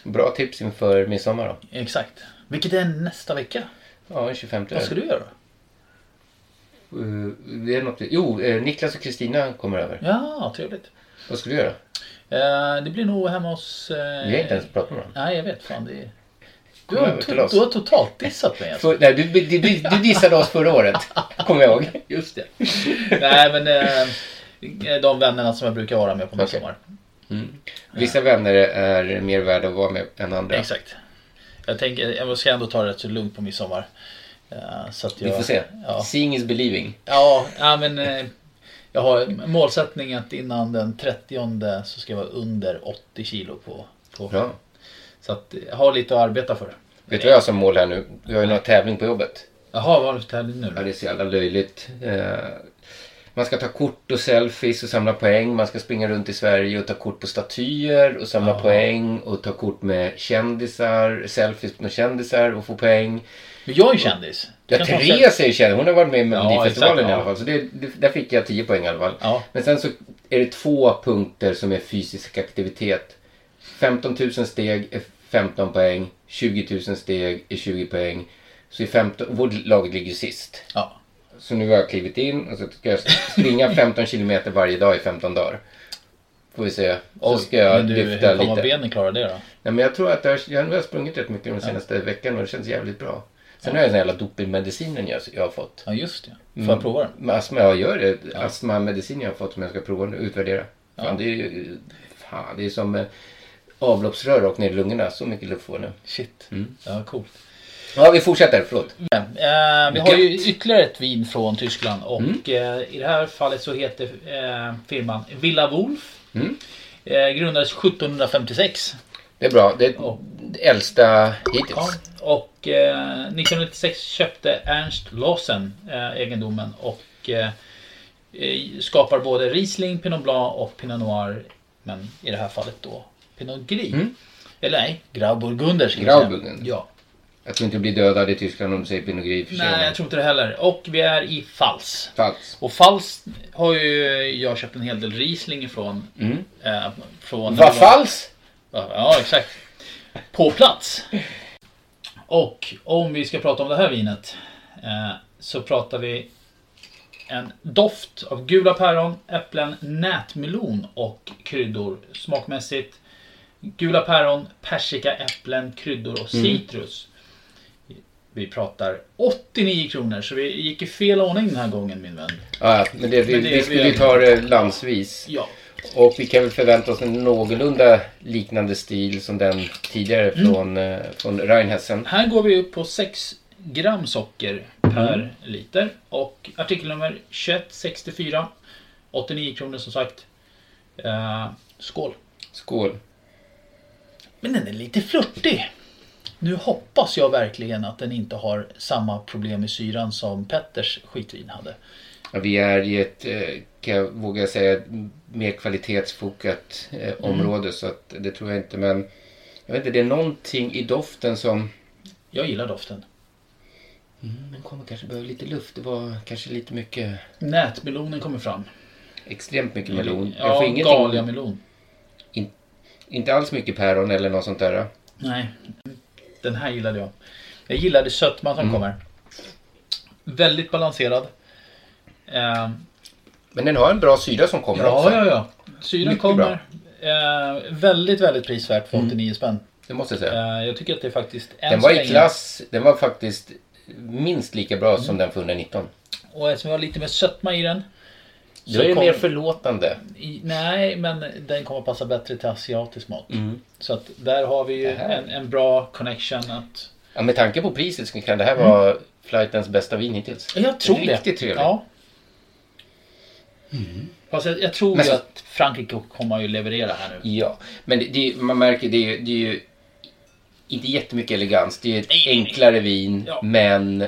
Speaker 9: Bra tips inför midsommar då.
Speaker 8: Exakt. Vilket är nästa vecka.
Speaker 9: Ja, den 25.
Speaker 8: Vad ska du göra?
Speaker 9: Eh, det är något, jo, eh, Niklas och Kristina kommer över.
Speaker 8: Ja, trevligt.
Speaker 9: Vad ska du göra?
Speaker 8: Eh, det blir nog hemma hos... Eh,
Speaker 9: Vi har inte ens pratat med varandra.
Speaker 8: Nej, jag vet. Fan, det är... Du
Speaker 9: Kom
Speaker 8: har,
Speaker 9: över till
Speaker 8: to-
Speaker 9: oss.
Speaker 8: du har totalt dissat mig alltså.
Speaker 9: För, nej, du, du, du, du dissade oss förra året, kommer jag ihåg.
Speaker 8: Just det. Nej men eh, de vännerna som jag brukar vara med på midsommar.
Speaker 9: Vissa vänner är mer värda att vara med än andra.
Speaker 8: Exakt. Jag tänker, jag ska ändå ta det rätt så lugnt på midsommar. Eh, Så att jag,
Speaker 9: Vi får se.
Speaker 8: Ja,
Speaker 9: Seeing is believing.
Speaker 8: ja, ja men eh, jag har målsättningen att innan den 30 så ska jag vara under 80 kilo på, på.
Speaker 9: Bra.
Speaker 8: Så att jag har lite att arbeta för.
Speaker 9: Vet du vad jag har som mål här nu? Vi har ju någon tävling på jobbet.
Speaker 8: Jaha, vad har du för tävling nu
Speaker 9: Ja,
Speaker 8: då?
Speaker 9: det är så jävla löjligt. Eh, Man ska ta kort och selfies och samla poäng. Man ska springa runt i Sverige och ta kort på statyer och samla poäng. Och ta kort med kändisar, selfies med kändisar och få poäng.
Speaker 8: Men jag är ju kändis. Du
Speaker 9: Ja,
Speaker 8: kan ta en
Speaker 9: Therese är ju känd. Hon har varit med i Melodifestivalen
Speaker 8: exakt,
Speaker 9: i
Speaker 8: ja.
Speaker 9: alla fall. Så det, det, där fick jag 10 poäng i alla fall.
Speaker 8: Ja.
Speaker 9: Men sen så är det två punkter som är fysisk aktivitet. 15 000 steg är 15 poäng. 20 000 steg är 20 poäng. Så i 15, vårt lag ligger sist.
Speaker 8: Ja.
Speaker 9: Så nu har jag klivit in och så ska jag springa 15 kilometer varje dag i 15 dagar. Får vi se. Och ska jag
Speaker 8: Men du, hur
Speaker 9: lyfta
Speaker 8: fan var
Speaker 9: lite.
Speaker 8: benen klarar det då?
Speaker 9: Nej, men jag tror att jag, jag har sprungit rätt mycket de senaste veckan och det känns jävligt bra. Sen har jag den här jävla dopingmedicinen jag, jag har fått.
Speaker 8: Ja, just det. Får
Speaker 9: Mm.
Speaker 8: jag prova den?
Speaker 9: Men astma, jag gör det. Astmamedicin jag har fått som jag ska prova och utvärdera. Fan, det, är, ju- fan, det är som eh, avloppsrör rakt ner i lungorna. Så mycket luft får jag nu.
Speaker 8: Shit.
Speaker 9: Mm.
Speaker 8: Ja, coolt.
Speaker 9: Ja, vi fortsätter. Förlåt.
Speaker 8: Eh, vi har ju ytterligare ett vin från Tyskland och
Speaker 9: Mm.
Speaker 8: eh, i det här fallet så heter eh, firman Villa Wolf.
Speaker 9: Mm.
Speaker 8: Eh, grundades 1756.
Speaker 9: Det är bra. Det är det äldsta hittills.
Speaker 8: Ja, och eh, 1996 köpte Ernst Lawson eh, egendomen och eh, eh, skapar både Riesling, Pinot Blanc och Pinot Noir. Men i det här fallet då Pinot Gris. Eller nej, Grauburgunder. ska vi säga.
Speaker 9: Mm. Grauburgunder.
Speaker 8: Ja.
Speaker 9: Jag tror inte du blir dödad i Tyskland om du säger Pinot Gris för sig.
Speaker 8: Nej, jag tror inte det heller. Och vi är i Fals.
Speaker 9: Falskt.
Speaker 8: Och Fals har ju jag köpt en hel del Riesling ifrån.
Speaker 9: Mm.
Speaker 8: Eh, från
Speaker 9: Vad falskt?
Speaker 8: Ja, ja, exakt. På plats. Och om vi ska prata om det här vinet eh, så pratar vi en doft av gula päron, äpplen, nätmelon och kryddor. Smakmässigt gula päron, persika, äpplen, kryddor och
Speaker 9: Mm.
Speaker 8: citrus. Vi pratar 89 kronor så vi gick i fel ordning den här gången min vän.
Speaker 9: Ja, ja, men det, vi,
Speaker 8: Men det-
Speaker 9: vi skulle
Speaker 8: vi-
Speaker 9: ju ta det landsvis.
Speaker 8: Ja.
Speaker 9: Och vi kan väl förvänta oss en någorlunda liknande stil som den tidigare från, eh, från Rheinhessen.
Speaker 8: Här går vi upp på 6 gram socker per liter. Och artikelnummer 2164. 89 kronor som sagt. Eh, skål.
Speaker 9: Skål.
Speaker 8: Men den är lite flörtig. Nu hoppas jag verkligen att den inte har samma problem med syran som Petters skitvin hade.
Speaker 9: Ja, vi är i ett, eh, kan jag våga säga, ett mer kvalitetsfokat eh, område. Så att det tror jag inte. Men jag vet inte, det är någonting i doften som...
Speaker 8: Jag gillar doften.
Speaker 9: Mm, den kommer kanske behöva lite luft. Det var kanske lite mycket...
Speaker 8: Nätmelonen kommer fram.
Speaker 9: Extremt mycket melon. Jag
Speaker 8: Ja,
Speaker 9: får ingenting-
Speaker 8: galiamelon.
Speaker 9: In, inte alls mycket päron eller något sånt där.
Speaker 8: Nej, den här gillade jag. Jag gillade sötman
Speaker 9: Mm.
Speaker 8: som kommer. Väldigt balanserad. Eh,
Speaker 9: Men den har en bra syra som kommer
Speaker 8: Ja,
Speaker 9: också.
Speaker 8: ja, ja. Syran
Speaker 9: Mycket
Speaker 8: kommer. Eh, väldigt, väldigt prisvärt för 89 spänn.
Speaker 9: Det måste jag säga.
Speaker 8: Eh, jag tycker att det är faktiskt än
Speaker 9: Den var
Speaker 8: så
Speaker 9: i
Speaker 8: länge-
Speaker 9: klass, den var faktiskt minst lika bra som den för 119.
Speaker 8: Och eftersom jag har lite mer sötma i den.
Speaker 9: Det är ju
Speaker 8: kom-
Speaker 9: mer förlåtande.
Speaker 8: i, nej, men den kommer passa bättre till asiatisk mat.
Speaker 9: Mm.
Speaker 8: Så att där har vi ju
Speaker 9: Det här.
Speaker 8: en, en bra connection att...
Speaker 9: Ja, med tanke på priset så kan det här vara flightens bästa vin hittills.
Speaker 8: Mm. Jag tror det.
Speaker 9: Riktigt trevligt. Mm.
Speaker 8: Ja. Fast jag, jag tror
Speaker 9: Men
Speaker 8: ju
Speaker 9: så-
Speaker 8: att Frankrike kommer ju leverera här nu.
Speaker 9: Ja, men det, det, man märker det, är ju- det är ju inte jättemycket elegans. Det är ju ett enklare vin,
Speaker 8: Ja.
Speaker 9: men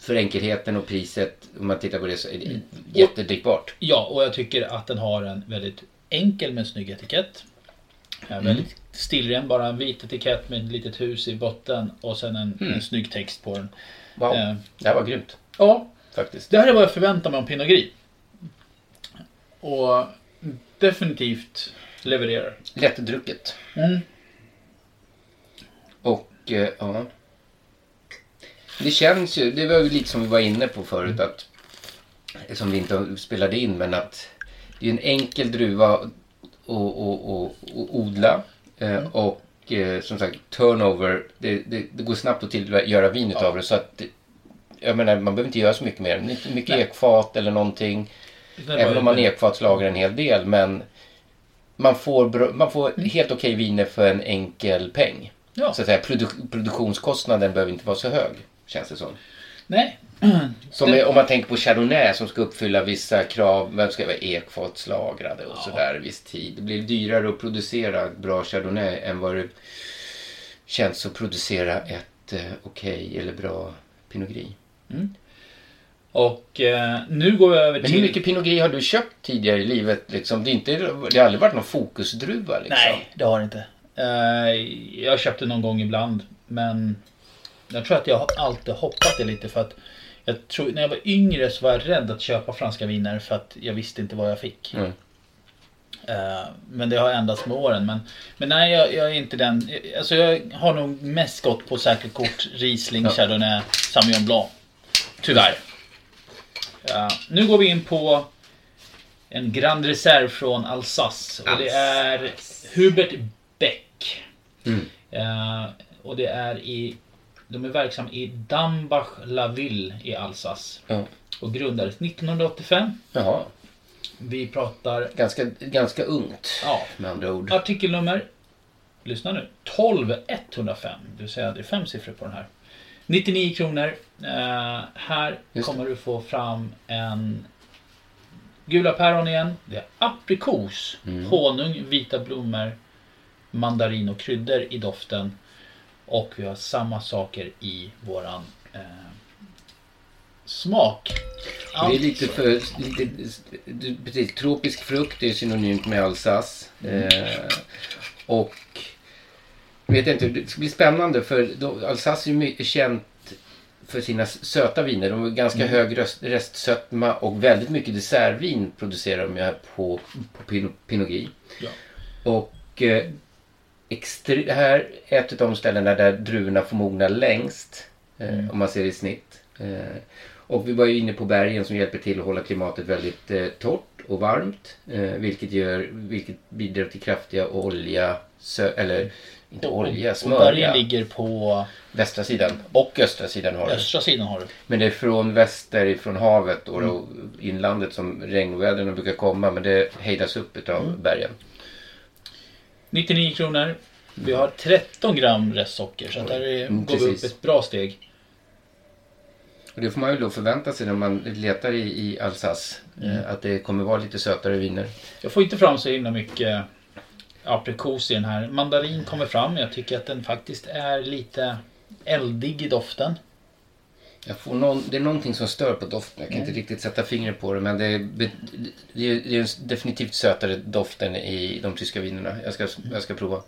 Speaker 9: för enkelheten och priset, om man tittar på det så är det
Speaker 8: Mm.
Speaker 9: jättedrickbart.
Speaker 8: Ja, och jag tycker att den har en väldigt enkel men snygg etikett. En
Speaker 9: Mm.
Speaker 8: Väldigt stilren, bara en vit etikett med ett litet hus i botten och sen en,
Speaker 9: Mm.
Speaker 8: en snygg text på den.
Speaker 9: Wow,
Speaker 8: Eh.
Speaker 9: det här var grymt
Speaker 8: Ja,
Speaker 9: faktiskt.
Speaker 8: det här är vad jag förväntar mig om Pinot Gris. Och definitivt levererar.
Speaker 9: Lättdrucket.
Speaker 8: Mm.
Speaker 9: Och eh, ja. Det känns ju, det var ju lite som vi var inne på förut
Speaker 8: Mm.
Speaker 9: att som vi inte spelade in men att det är en enkel druva att och, och, och odla eh,
Speaker 8: Mm.
Speaker 9: och eh, som sagt turnover, det, det, det går snabbt att tillgöra vin utav det så att det- jag menar man behöver inte göra så mycket mer, inte mycket ekfat eller någonting.
Speaker 8: Den var
Speaker 9: Även
Speaker 8: ju-
Speaker 9: om man ekfatslagrar en hel del men man får, bra- man får
Speaker 8: Mm.
Speaker 9: helt okej viner för en enkel peng.
Speaker 8: Ja.
Speaker 9: Så att säga, produ- produktionskostnaden behöver inte vara så hög känns det som.
Speaker 8: Nej.
Speaker 9: som är, om man tänker på Chardonnay som ska uppfylla vissa krav. Vem ska vara ekfatslagrade och sådär viss tid. Det blir dyrare att producera ett bra Chardonnay än vad det känns att producera ett eh, okej eller bra Pinot Gris.
Speaker 8: Och eh, nu går vi över
Speaker 9: Men
Speaker 8: till...
Speaker 9: hur mycket Pinot Gris har du köpt tidigare i livet? Liksom? Det, är inte, det har aldrig varit någon fokusdruva liksom.
Speaker 8: Nej, det har det inte. Eh, jag köpte någon gång ibland. Men jag tror att jag har alltid hoppat det lite för att jag tror, när jag var yngre så var jag rädd att köpa franska viner för att jag visste inte vad jag fick.
Speaker 9: Mm.
Speaker 8: Eh, Men det har ändrats med åren. Men, men nej, jag, jag är inte den. Alltså jag har nog mest gått på säkert kort Riesling, Chardonnay, Sauvignon Blanc. Tyvärr. Eh, nu går vi in på en Grand Reserve från Alsace. Och det är Hubert Beck.
Speaker 9: Mm.
Speaker 8: Eh, och det är i... De är verksamma i Dambach-la-Ville i Alsace.
Speaker 9: Ja.
Speaker 8: Och grundades 1985.
Speaker 9: Jaha.
Speaker 8: Vi pratar...
Speaker 9: Ganska, ganska ungt
Speaker 8: Ja.
Speaker 9: med andra ord.
Speaker 8: Artikelnummer, lyssna nu, 12105. Du säger det är fem siffror på den här. 99 kronor. Eh, här
Speaker 9: Just
Speaker 8: kommer du få fram en gula päron igen. Det är aprikos,
Speaker 9: Mm.
Speaker 8: honung, vita blommor, mandarin och kryddor i doften. Och vi har samma saker i våran eh, smak.
Speaker 9: Det är lite för... Lite, du- precis, tropisk frukt är synonymt med Alsace. Eh, och... Vet jag inte, det ska bli spännande för då, Alsace är ju mycket känt för sina s- söta viner. De har ganska
Speaker 8: Mm.
Speaker 9: hög röst, restsötma och väldigt mycket dessertvin producerar de ju här på, på Pin- Pinot Gris.
Speaker 8: Ja.
Speaker 9: Och eh, extre- det här är ett av de ställena där druvorna får mogna längst. Eh,
Speaker 8: Mm.
Speaker 9: Om man ser det i snitt. Eh, och vi var ju inne på bergen som hjälper till att hålla klimatet väldigt eh, torrt och varmt. Eh, vilket, gör, vilket bidrar till kraftiga olja, sö- eller inte olja,
Speaker 8: och bergen
Speaker 9: smörja.
Speaker 8: ligger på
Speaker 9: Västra sidan och östra sidan har det.
Speaker 8: östra sidan har du.
Speaker 9: Men det är från väster ifrån havet
Speaker 8: Mm.
Speaker 9: och då inlandet som regnväderna brukar komma men det hejdas upp utav
Speaker 8: Mm.
Speaker 9: bergen.
Speaker 8: 99 kronor. Vi har 13 gram restsocker så att där är,
Speaker 9: Mm,
Speaker 8: går vi upp
Speaker 9: precis.
Speaker 8: ett bra steg.
Speaker 9: Och det får man ju då förvänta sig när man letar i, i Alsace. Eh, att det kommer vara lite sötare viner.
Speaker 8: Jag får inte fram så himla mycket eh, aprikos i den här. Mandarin kommer fram. Jag tycker att den faktiskt är lite eldig i doften.
Speaker 9: Jag får någon, det är någonting som stör på doften. Jag kan inte riktigt sätta fingret på det men det är, be- det är, det är en definitivt sötare doften i de tyska vinerna. Jag ska, jag ska prova.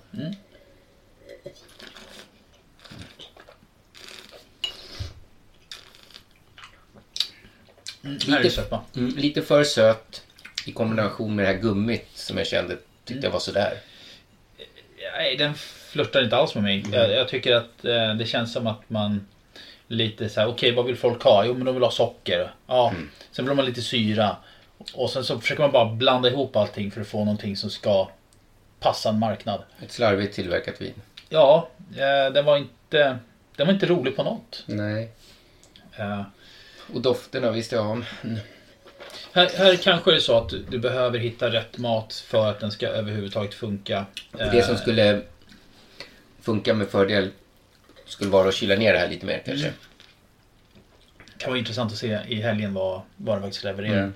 Speaker 8: Mm, här är det
Speaker 9: Lite-
Speaker 8: sötma.
Speaker 9: Mm, lite för söt i kombination med det här gummit som jag kände tyckte jag var sådär.
Speaker 8: Nej, den flörtar inte alls med mig. Jag, jag tycker att eh, det känns som att man lite så här, okej vad vill folk ha? Jo men de vill ha socker. Ja, sen vill de ha lite syra. Och sen så försöker man bara blanda ihop allting för att få någonting som ska passa en marknad.
Speaker 9: Ett slarvigt tillverkat vin.
Speaker 8: Ja, eh, den var inte, den var inte rolig på något.
Speaker 9: Nej.
Speaker 8: Eh,
Speaker 9: Och dofterna Mm. visste jag om.
Speaker 8: Här, här kanske det är så att du du behöver hitta rätt mat för att den ska överhuvudtaget funka.
Speaker 9: Och
Speaker 8: Eh,
Speaker 9: Det som skulle funka med fördel skulle vara att kyla ner det här lite mer kanske.
Speaker 8: kan vara intressant att se i helgen vad, vad den faktiskt levererar.
Speaker 9: Mm.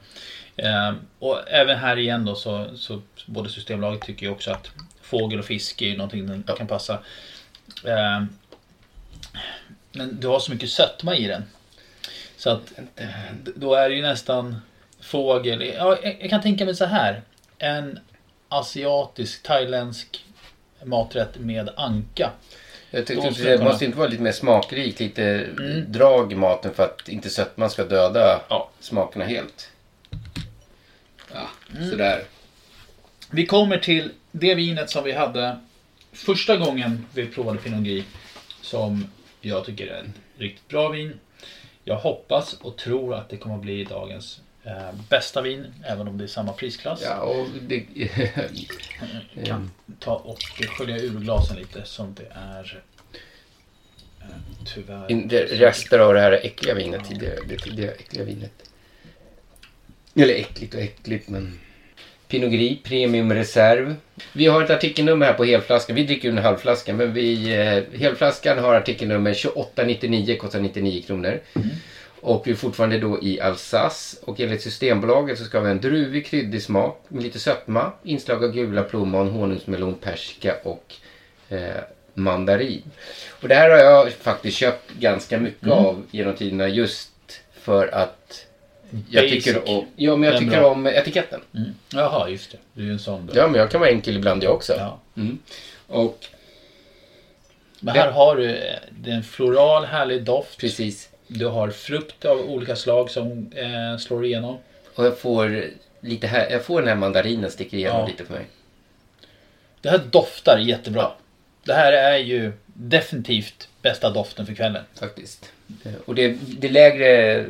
Speaker 8: Ehm, och även här igen då så, så både Systembolaget tycker ju också att fågel och fisk är ju någonting den kan passa. Ehm, men du har så mycket sötma i den. Så att d- då är det ju nästan fågel. Ja, jag, jag kan tänka mig så här. En asiatisk, thailändsk maträtt med anka.
Speaker 9: Jag
Speaker 8: Då
Speaker 9: tyckte att
Speaker 8: skulle jag
Speaker 9: det
Speaker 8: kunna-
Speaker 9: måste inte vara lite mer smakrikt, lite drag i maten för att inte sötman ska döda
Speaker 8: Ja.
Speaker 9: smakerna helt. Mm. Ja, sådär.
Speaker 8: Vi kommer till det vinet som vi hade första gången vi provade Pinot Gris. Som jag tycker är ett riktigt bra vin. Jag hoppas och tror att det kommer att bli dagens eh, bästa vin. Även om det är samma prisklass.
Speaker 9: Ja, och det...
Speaker 8: Kan ta och skölja ur glasen lite som det är eh, tyvärr.
Speaker 9: det rester av det här äckliga vinet tidigare. Det tidigare äckliga vinet. Eller äckligt och äckligt, men... Pinot Gris Premium Reserve. Vi har ett artikelnummer här på helflaskan. Vi dricker ju en halvflaska, men vi... Eh, helflaskan har artikelnummer 2899, kostar 99 kronor. Och vi är fortfarande då i Alsace. Och enligt Systembolaget så ska vi ha en druvig, kryddig smak med lite sötma, inslag av gula plommon, honungsmelon, persika och eh, mandarin. Och det här har jag faktiskt köpt ganska mycket av genom tiderna just för att jag
Speaker 8: Basic.
Speaker 9: tycker, om, ja, men jag
Speaker 8: Den
Speaker 9: tycker
Speaker 8: bra.
Speaker 9: om etiketten.
Speaker 8: Mm. Jaha, just det. Du är ju en sån. Då.
Speaker 9: Ja, men jag kan vara enkel ibland jag också.
Speaker 8: Ja.
Speaker 9: Mm. Och
Speaker 8: Men här har du eh, det är en floral härlig doft.
Speaker 9: precis.
Speaker 8: Du har frukt av olika slag som eh, slår igenom.
Speaker 9: Och jag får lite här, jag får den här mandarinen sticker igenom lite för mig.
Speaker 8: Det här doftar jättebra. Det här är ju definitivt bästa doften för kvällen.
Speaker 9: Faktiskt. Eh, Och det, det är lägre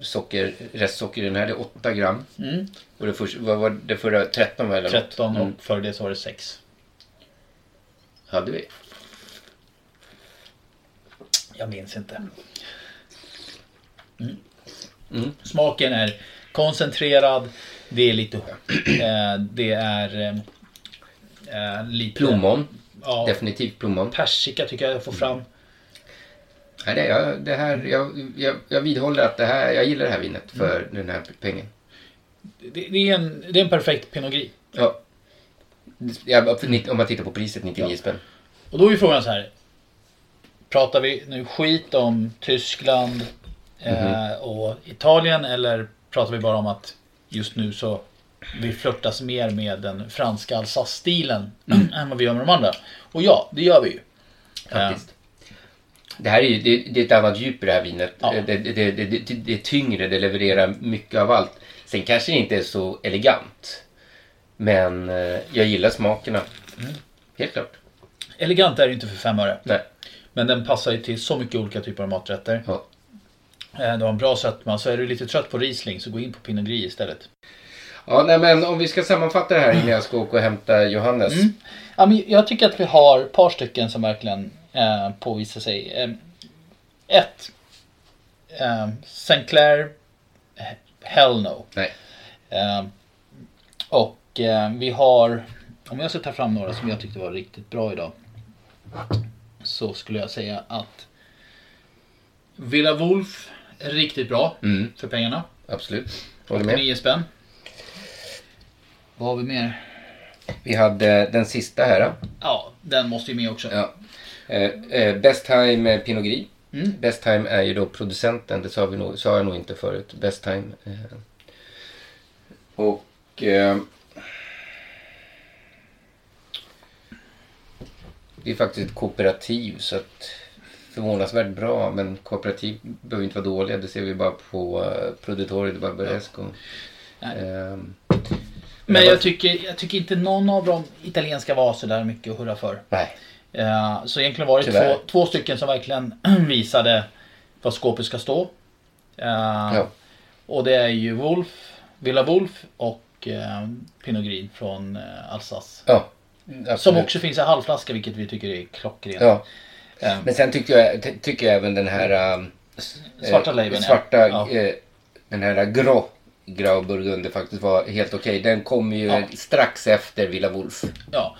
Speaker 9: socker, restsocker i den här, det är 8 gram.
Speaker 8: Mm.
Speaker 9: Och det första, vad var det förra? 13 var det?
Speaker 8: 13
Speaker 9: Mm.
Speaker 8: och före det så var det 6.
Speaker 9: Hade vi?
Speaker 8: Jag minns inte. Mm. Smaken är koncentrerad. Det är lite... Eh, det är... eh, Eh, lite...
Speaker 9: Plommon.
Speaker 8: Ja.
Speaker 9: Definitivt plommon.
Speaker 8: Persika tycker jag jag får fram.
Speaker 9: Nej, det, jag, det här, jag, jag, jag vidhåller att det här, jag gillar det här vinet för den här pengen.
Speaker 8: Det, det, är en, det är en perfekt Pinot Gris.
Speaker 9: Ja. Ja, för nitt- Om man tittar på priset, 99 spänn.
Speaker 8: Och då är ju frågan så här. Pratar vi nu skit om Tyskland
Speaker 9: Mhm.
Speaker 8: eh, och Italien eller pratar vi bara om att just nu så vi flörtas mer med den franska Alsace-stilen
Speaker 9: Mm.
Speaker 8: än vad vi gör med de andra. Och ja, det gör vi ju.
Speaker 9: Faktiskt. Det här är ju, det, det är ett annat djup i det här vinet. Det, det, det, det, det är tyngre, det levererar mycket av allt. Sen kanske det inte är så elegant. Men eh, jag gillar smakerna. Helt klart.
Speaker 8: Eh, Elegant är det ju inte för fem öre.
Speaker 9: Nej.
Speaker 8: Men den passar ju till så mycket olika typer av maträtter.
Speaker 9: Ja.
Speaker 8: Eh, Du har en bra sötma. Så är du lite trött på Riesling så gå in på Pinot Gris istället.
Speaker 9: Ja, nej, men om vi ska sammanfatta det här innan jag ska åka och hämta Johannes.
Speaker 8: Ja, men jag tycker att vi har ett par stycken som verkligen eh, påvisar sig. Eh, ett. Eh, St. Clair. eh, Hell no.
Speaker 9: Nej.
Speaker 8: Eh, och eh, vi har. Om jag ska ta fram några som jag tyckte var riktigt bra idag. Så skulle jag säga att. Villa Wolf. är Riktigt bra.
Speaker 9: Mm.
Speaker 8: För pengarna.
Speaker 9: Absolut. Håller med.
Speaker 8: 89 spänn. Vad har vi mer?
Speaker 9: Vi hade den sista här.
Speaker 8: Ja, den måste ju med också.
Speaker 9: Ja. Eh, eh, Best Time eh, Pinot Gris.
Speaker 8: Mm.
Speaker 9: Best Time är ju då producenten, det sa, vi nog, sa jag nog inte förut. Best Time. Eh. Och... Eh, det är faktiskt ett kooperativ så att förvånansvärt bra men kooperativ behöver inte vara dåliga. Det ser vi bara på eh, Produttori de Barbaresco. Ehm,
Speaker 8: Men jag tycker, jag tycker inte någon av de italienska var så där mycket att hurra för.
Speaker 9: nej.
Speaker 8: Eh, Så egentligen var det
Speaker 9: Tyvärr.
Speaker 8: två, två stycken som verkligen visade vad skåpet ska stå. Eh,
Speaker 9: Ja.
Speaker 8: Och det är ju Wolf, Villa Wolf och eh, Pinot Gris från eh, Alsace.
Speaker 9: Ja.
Speaker 8: Som
Speaker 9: absolut.
Speaker 8: också finns i halvflaska vilket vi tycker är klockrent.
Speaker 9: Ja.
Speaker 8: Eh,
Speaker 9: Men sen tycker jag, ty- tycker jag även den här... ähm,
Speaker 8: Svarta
Speaker 9: eh,
Speaker 8: Leiben, ja.
Speaker 9: svarta,
Speaker 8: Ja.
Speaker 9: eh, Den här grå, grå burgunder faktiskt var helt okej. Den kom ju
Speaker 8: Ja.
Speaker 9: strax efter Villa Wolf.
Speaker 8: Ja.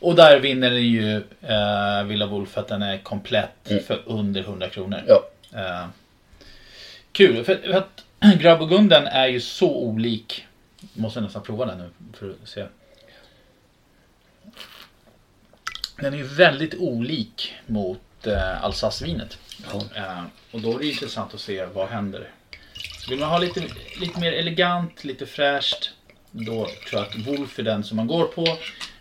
Speaker 8: Och där vinner den ju eh, Villa Wolf för att den är komplett för under 100 kronor.
Speaker 9: Mm. Ja.
Speaker 8: Eh, kul, för, för att Grabbogunden är ju så olik. Måste nästan prova den nu för att se. Den är ju väldigt olik mot eh, Alsace-vinet. Eh, och då är det ju intressant att se vad händer. Så vill man ha lite, lite mer elegant, lite fräscht. Då tror jag att Wolf är den som man går på.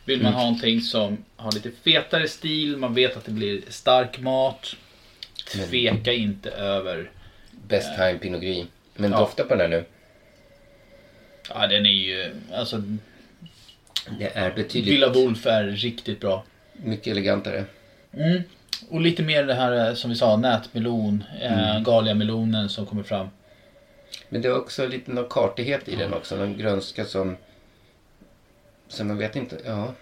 Speaker 8: Vill man ha någonting som har lite fetare stil, man vet att det blir stark mat. Tveka inte över.
Speaker 9: Best time Pinot Gris. Men
Speaker 8: Ja.
Speaker 9: dofta på den här nu.
Speaker 8: Ja, den är ju... Alltså,
Speaker 9: Det är betydligt
Speaker 8: Villa Wolf är riktigt bra.
Speaker 9: mycket elegantare.
Speaker 8: Mm. Och lite mer det här eh, som vi sa, nätmelon, eh, galiamelonen som kommer fram.
Speaker 9: Men det är också lite någon kartighet i den också. Någon grönska som... Som man vet inte. Ja.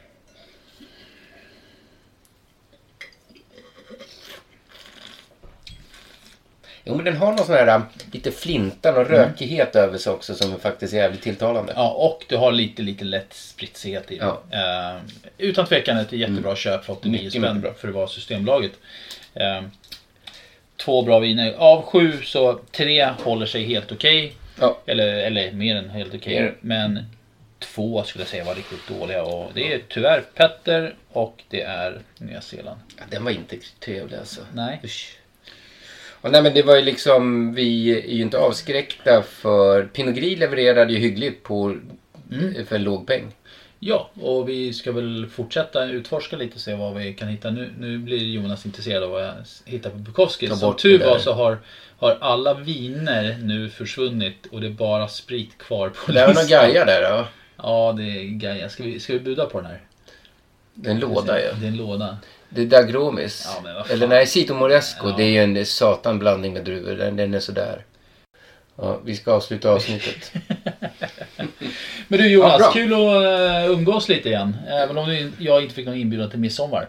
Speaker 9: Jo men den har någon sån här äh, lite flintan och rökighet över sig också som faktiskt är jävligt tilltalande.
Speaker 8: Ja, och du har lite, lite lätt spritsighet i den.
Speaker 9: Ja. Mm.
Speaker 8: Eh, utan tvekan ett jättebra köp för 89
Speaker 9: Mycket,
Speaker 8: spänn
Speaker 9: mycket bra.
Speaker 8: för att vara Systembolaget. Eh, två bra viner. Av sju så tre håller sig helt okej.
Speaker 9: Ja.
Speaker 8: Eller, eller mer än helt okej.
Speaker 9: Mer.
Speaker 8: Men två skulle jag säga var riktigt dåliga. Och det är tyvärr Petter och det är Nya Zeeland.
Speaker 9: Ja, Den var inte trevlig alltså.
Speaker 8: Nej.
Speaker 9: Usch. Och nej men det var ju liksom, vi är ju inte avskräckta för Pinot Gris levererade ju hyggligt på, för en låg peng.
Speaker 8: Ja, och vi ska väl fortsätta utforska lite och se vad vi kan hitta. Nu, nu blir Jonas intresserad av vad jag hittar på Bukowski.
Speaker 9: Ta
Speaker 8: Som
Speaker 9: bort
Speaker 8: tur
Speaker 9: det där.
Speaker 8: var så har, har alla viner nu försvunnit och det är bara sprit kvar på
Speaker 9: Det är väl någon Gaia där då?
Speaker 8: Ja, det är Gaia. Ska vi, ska vi buda på den här?
Speaker 9: Det är en låda ju.
Speaker 8: Det är en låda.
Speaker 9: Det är Dagromis.
Speaker 8: Ja, men vad fan.
Speaker 9: Eller nej, Sito Moresco. Det är ju en satan blandning med druvor. Den, den är sådär. Ja, vi ska avsluta avsnittet.
Speaker 8: Men du Jonas,
Speaker 9: Ja, bra.
Speaker 8: kul att eh, umgås lite igen. Även om du, jag inte fick någon inbjudan till midsommar.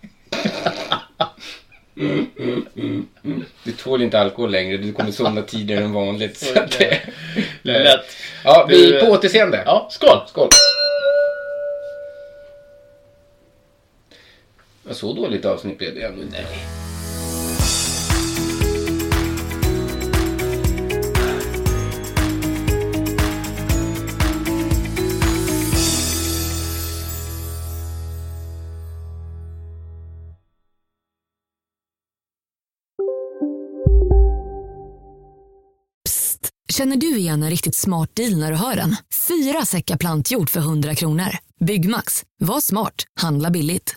Speaker 9: Du tål inte alkohol längre. Du kommer somna tidigare än vanligt. Så att det...
Speaker 8: Lätt.
Speaker 9: Ja, vi
Speaker 8: Du,
Speaker 9: på återseende.
Speaker 8: Ja, skål!
Speaker 9: Skål. Ja, Så dåligt avsnitt blev det ändå inte.
Speaker 12: Känner du igen en riktigt smart deal när du hör den? Fyra säckar plantjord för 100 kronor. Byggmax, var smart, handla billigt.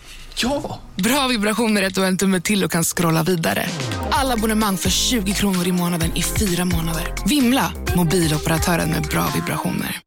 Speaker 13: Ja! Bra vibrationer är att du har en tumme till och kan scrolla vidare. Alla abonnemang för 20 kronor i månaden i fyra månader. Vimla! Mobiloperatören med bra vibrationer.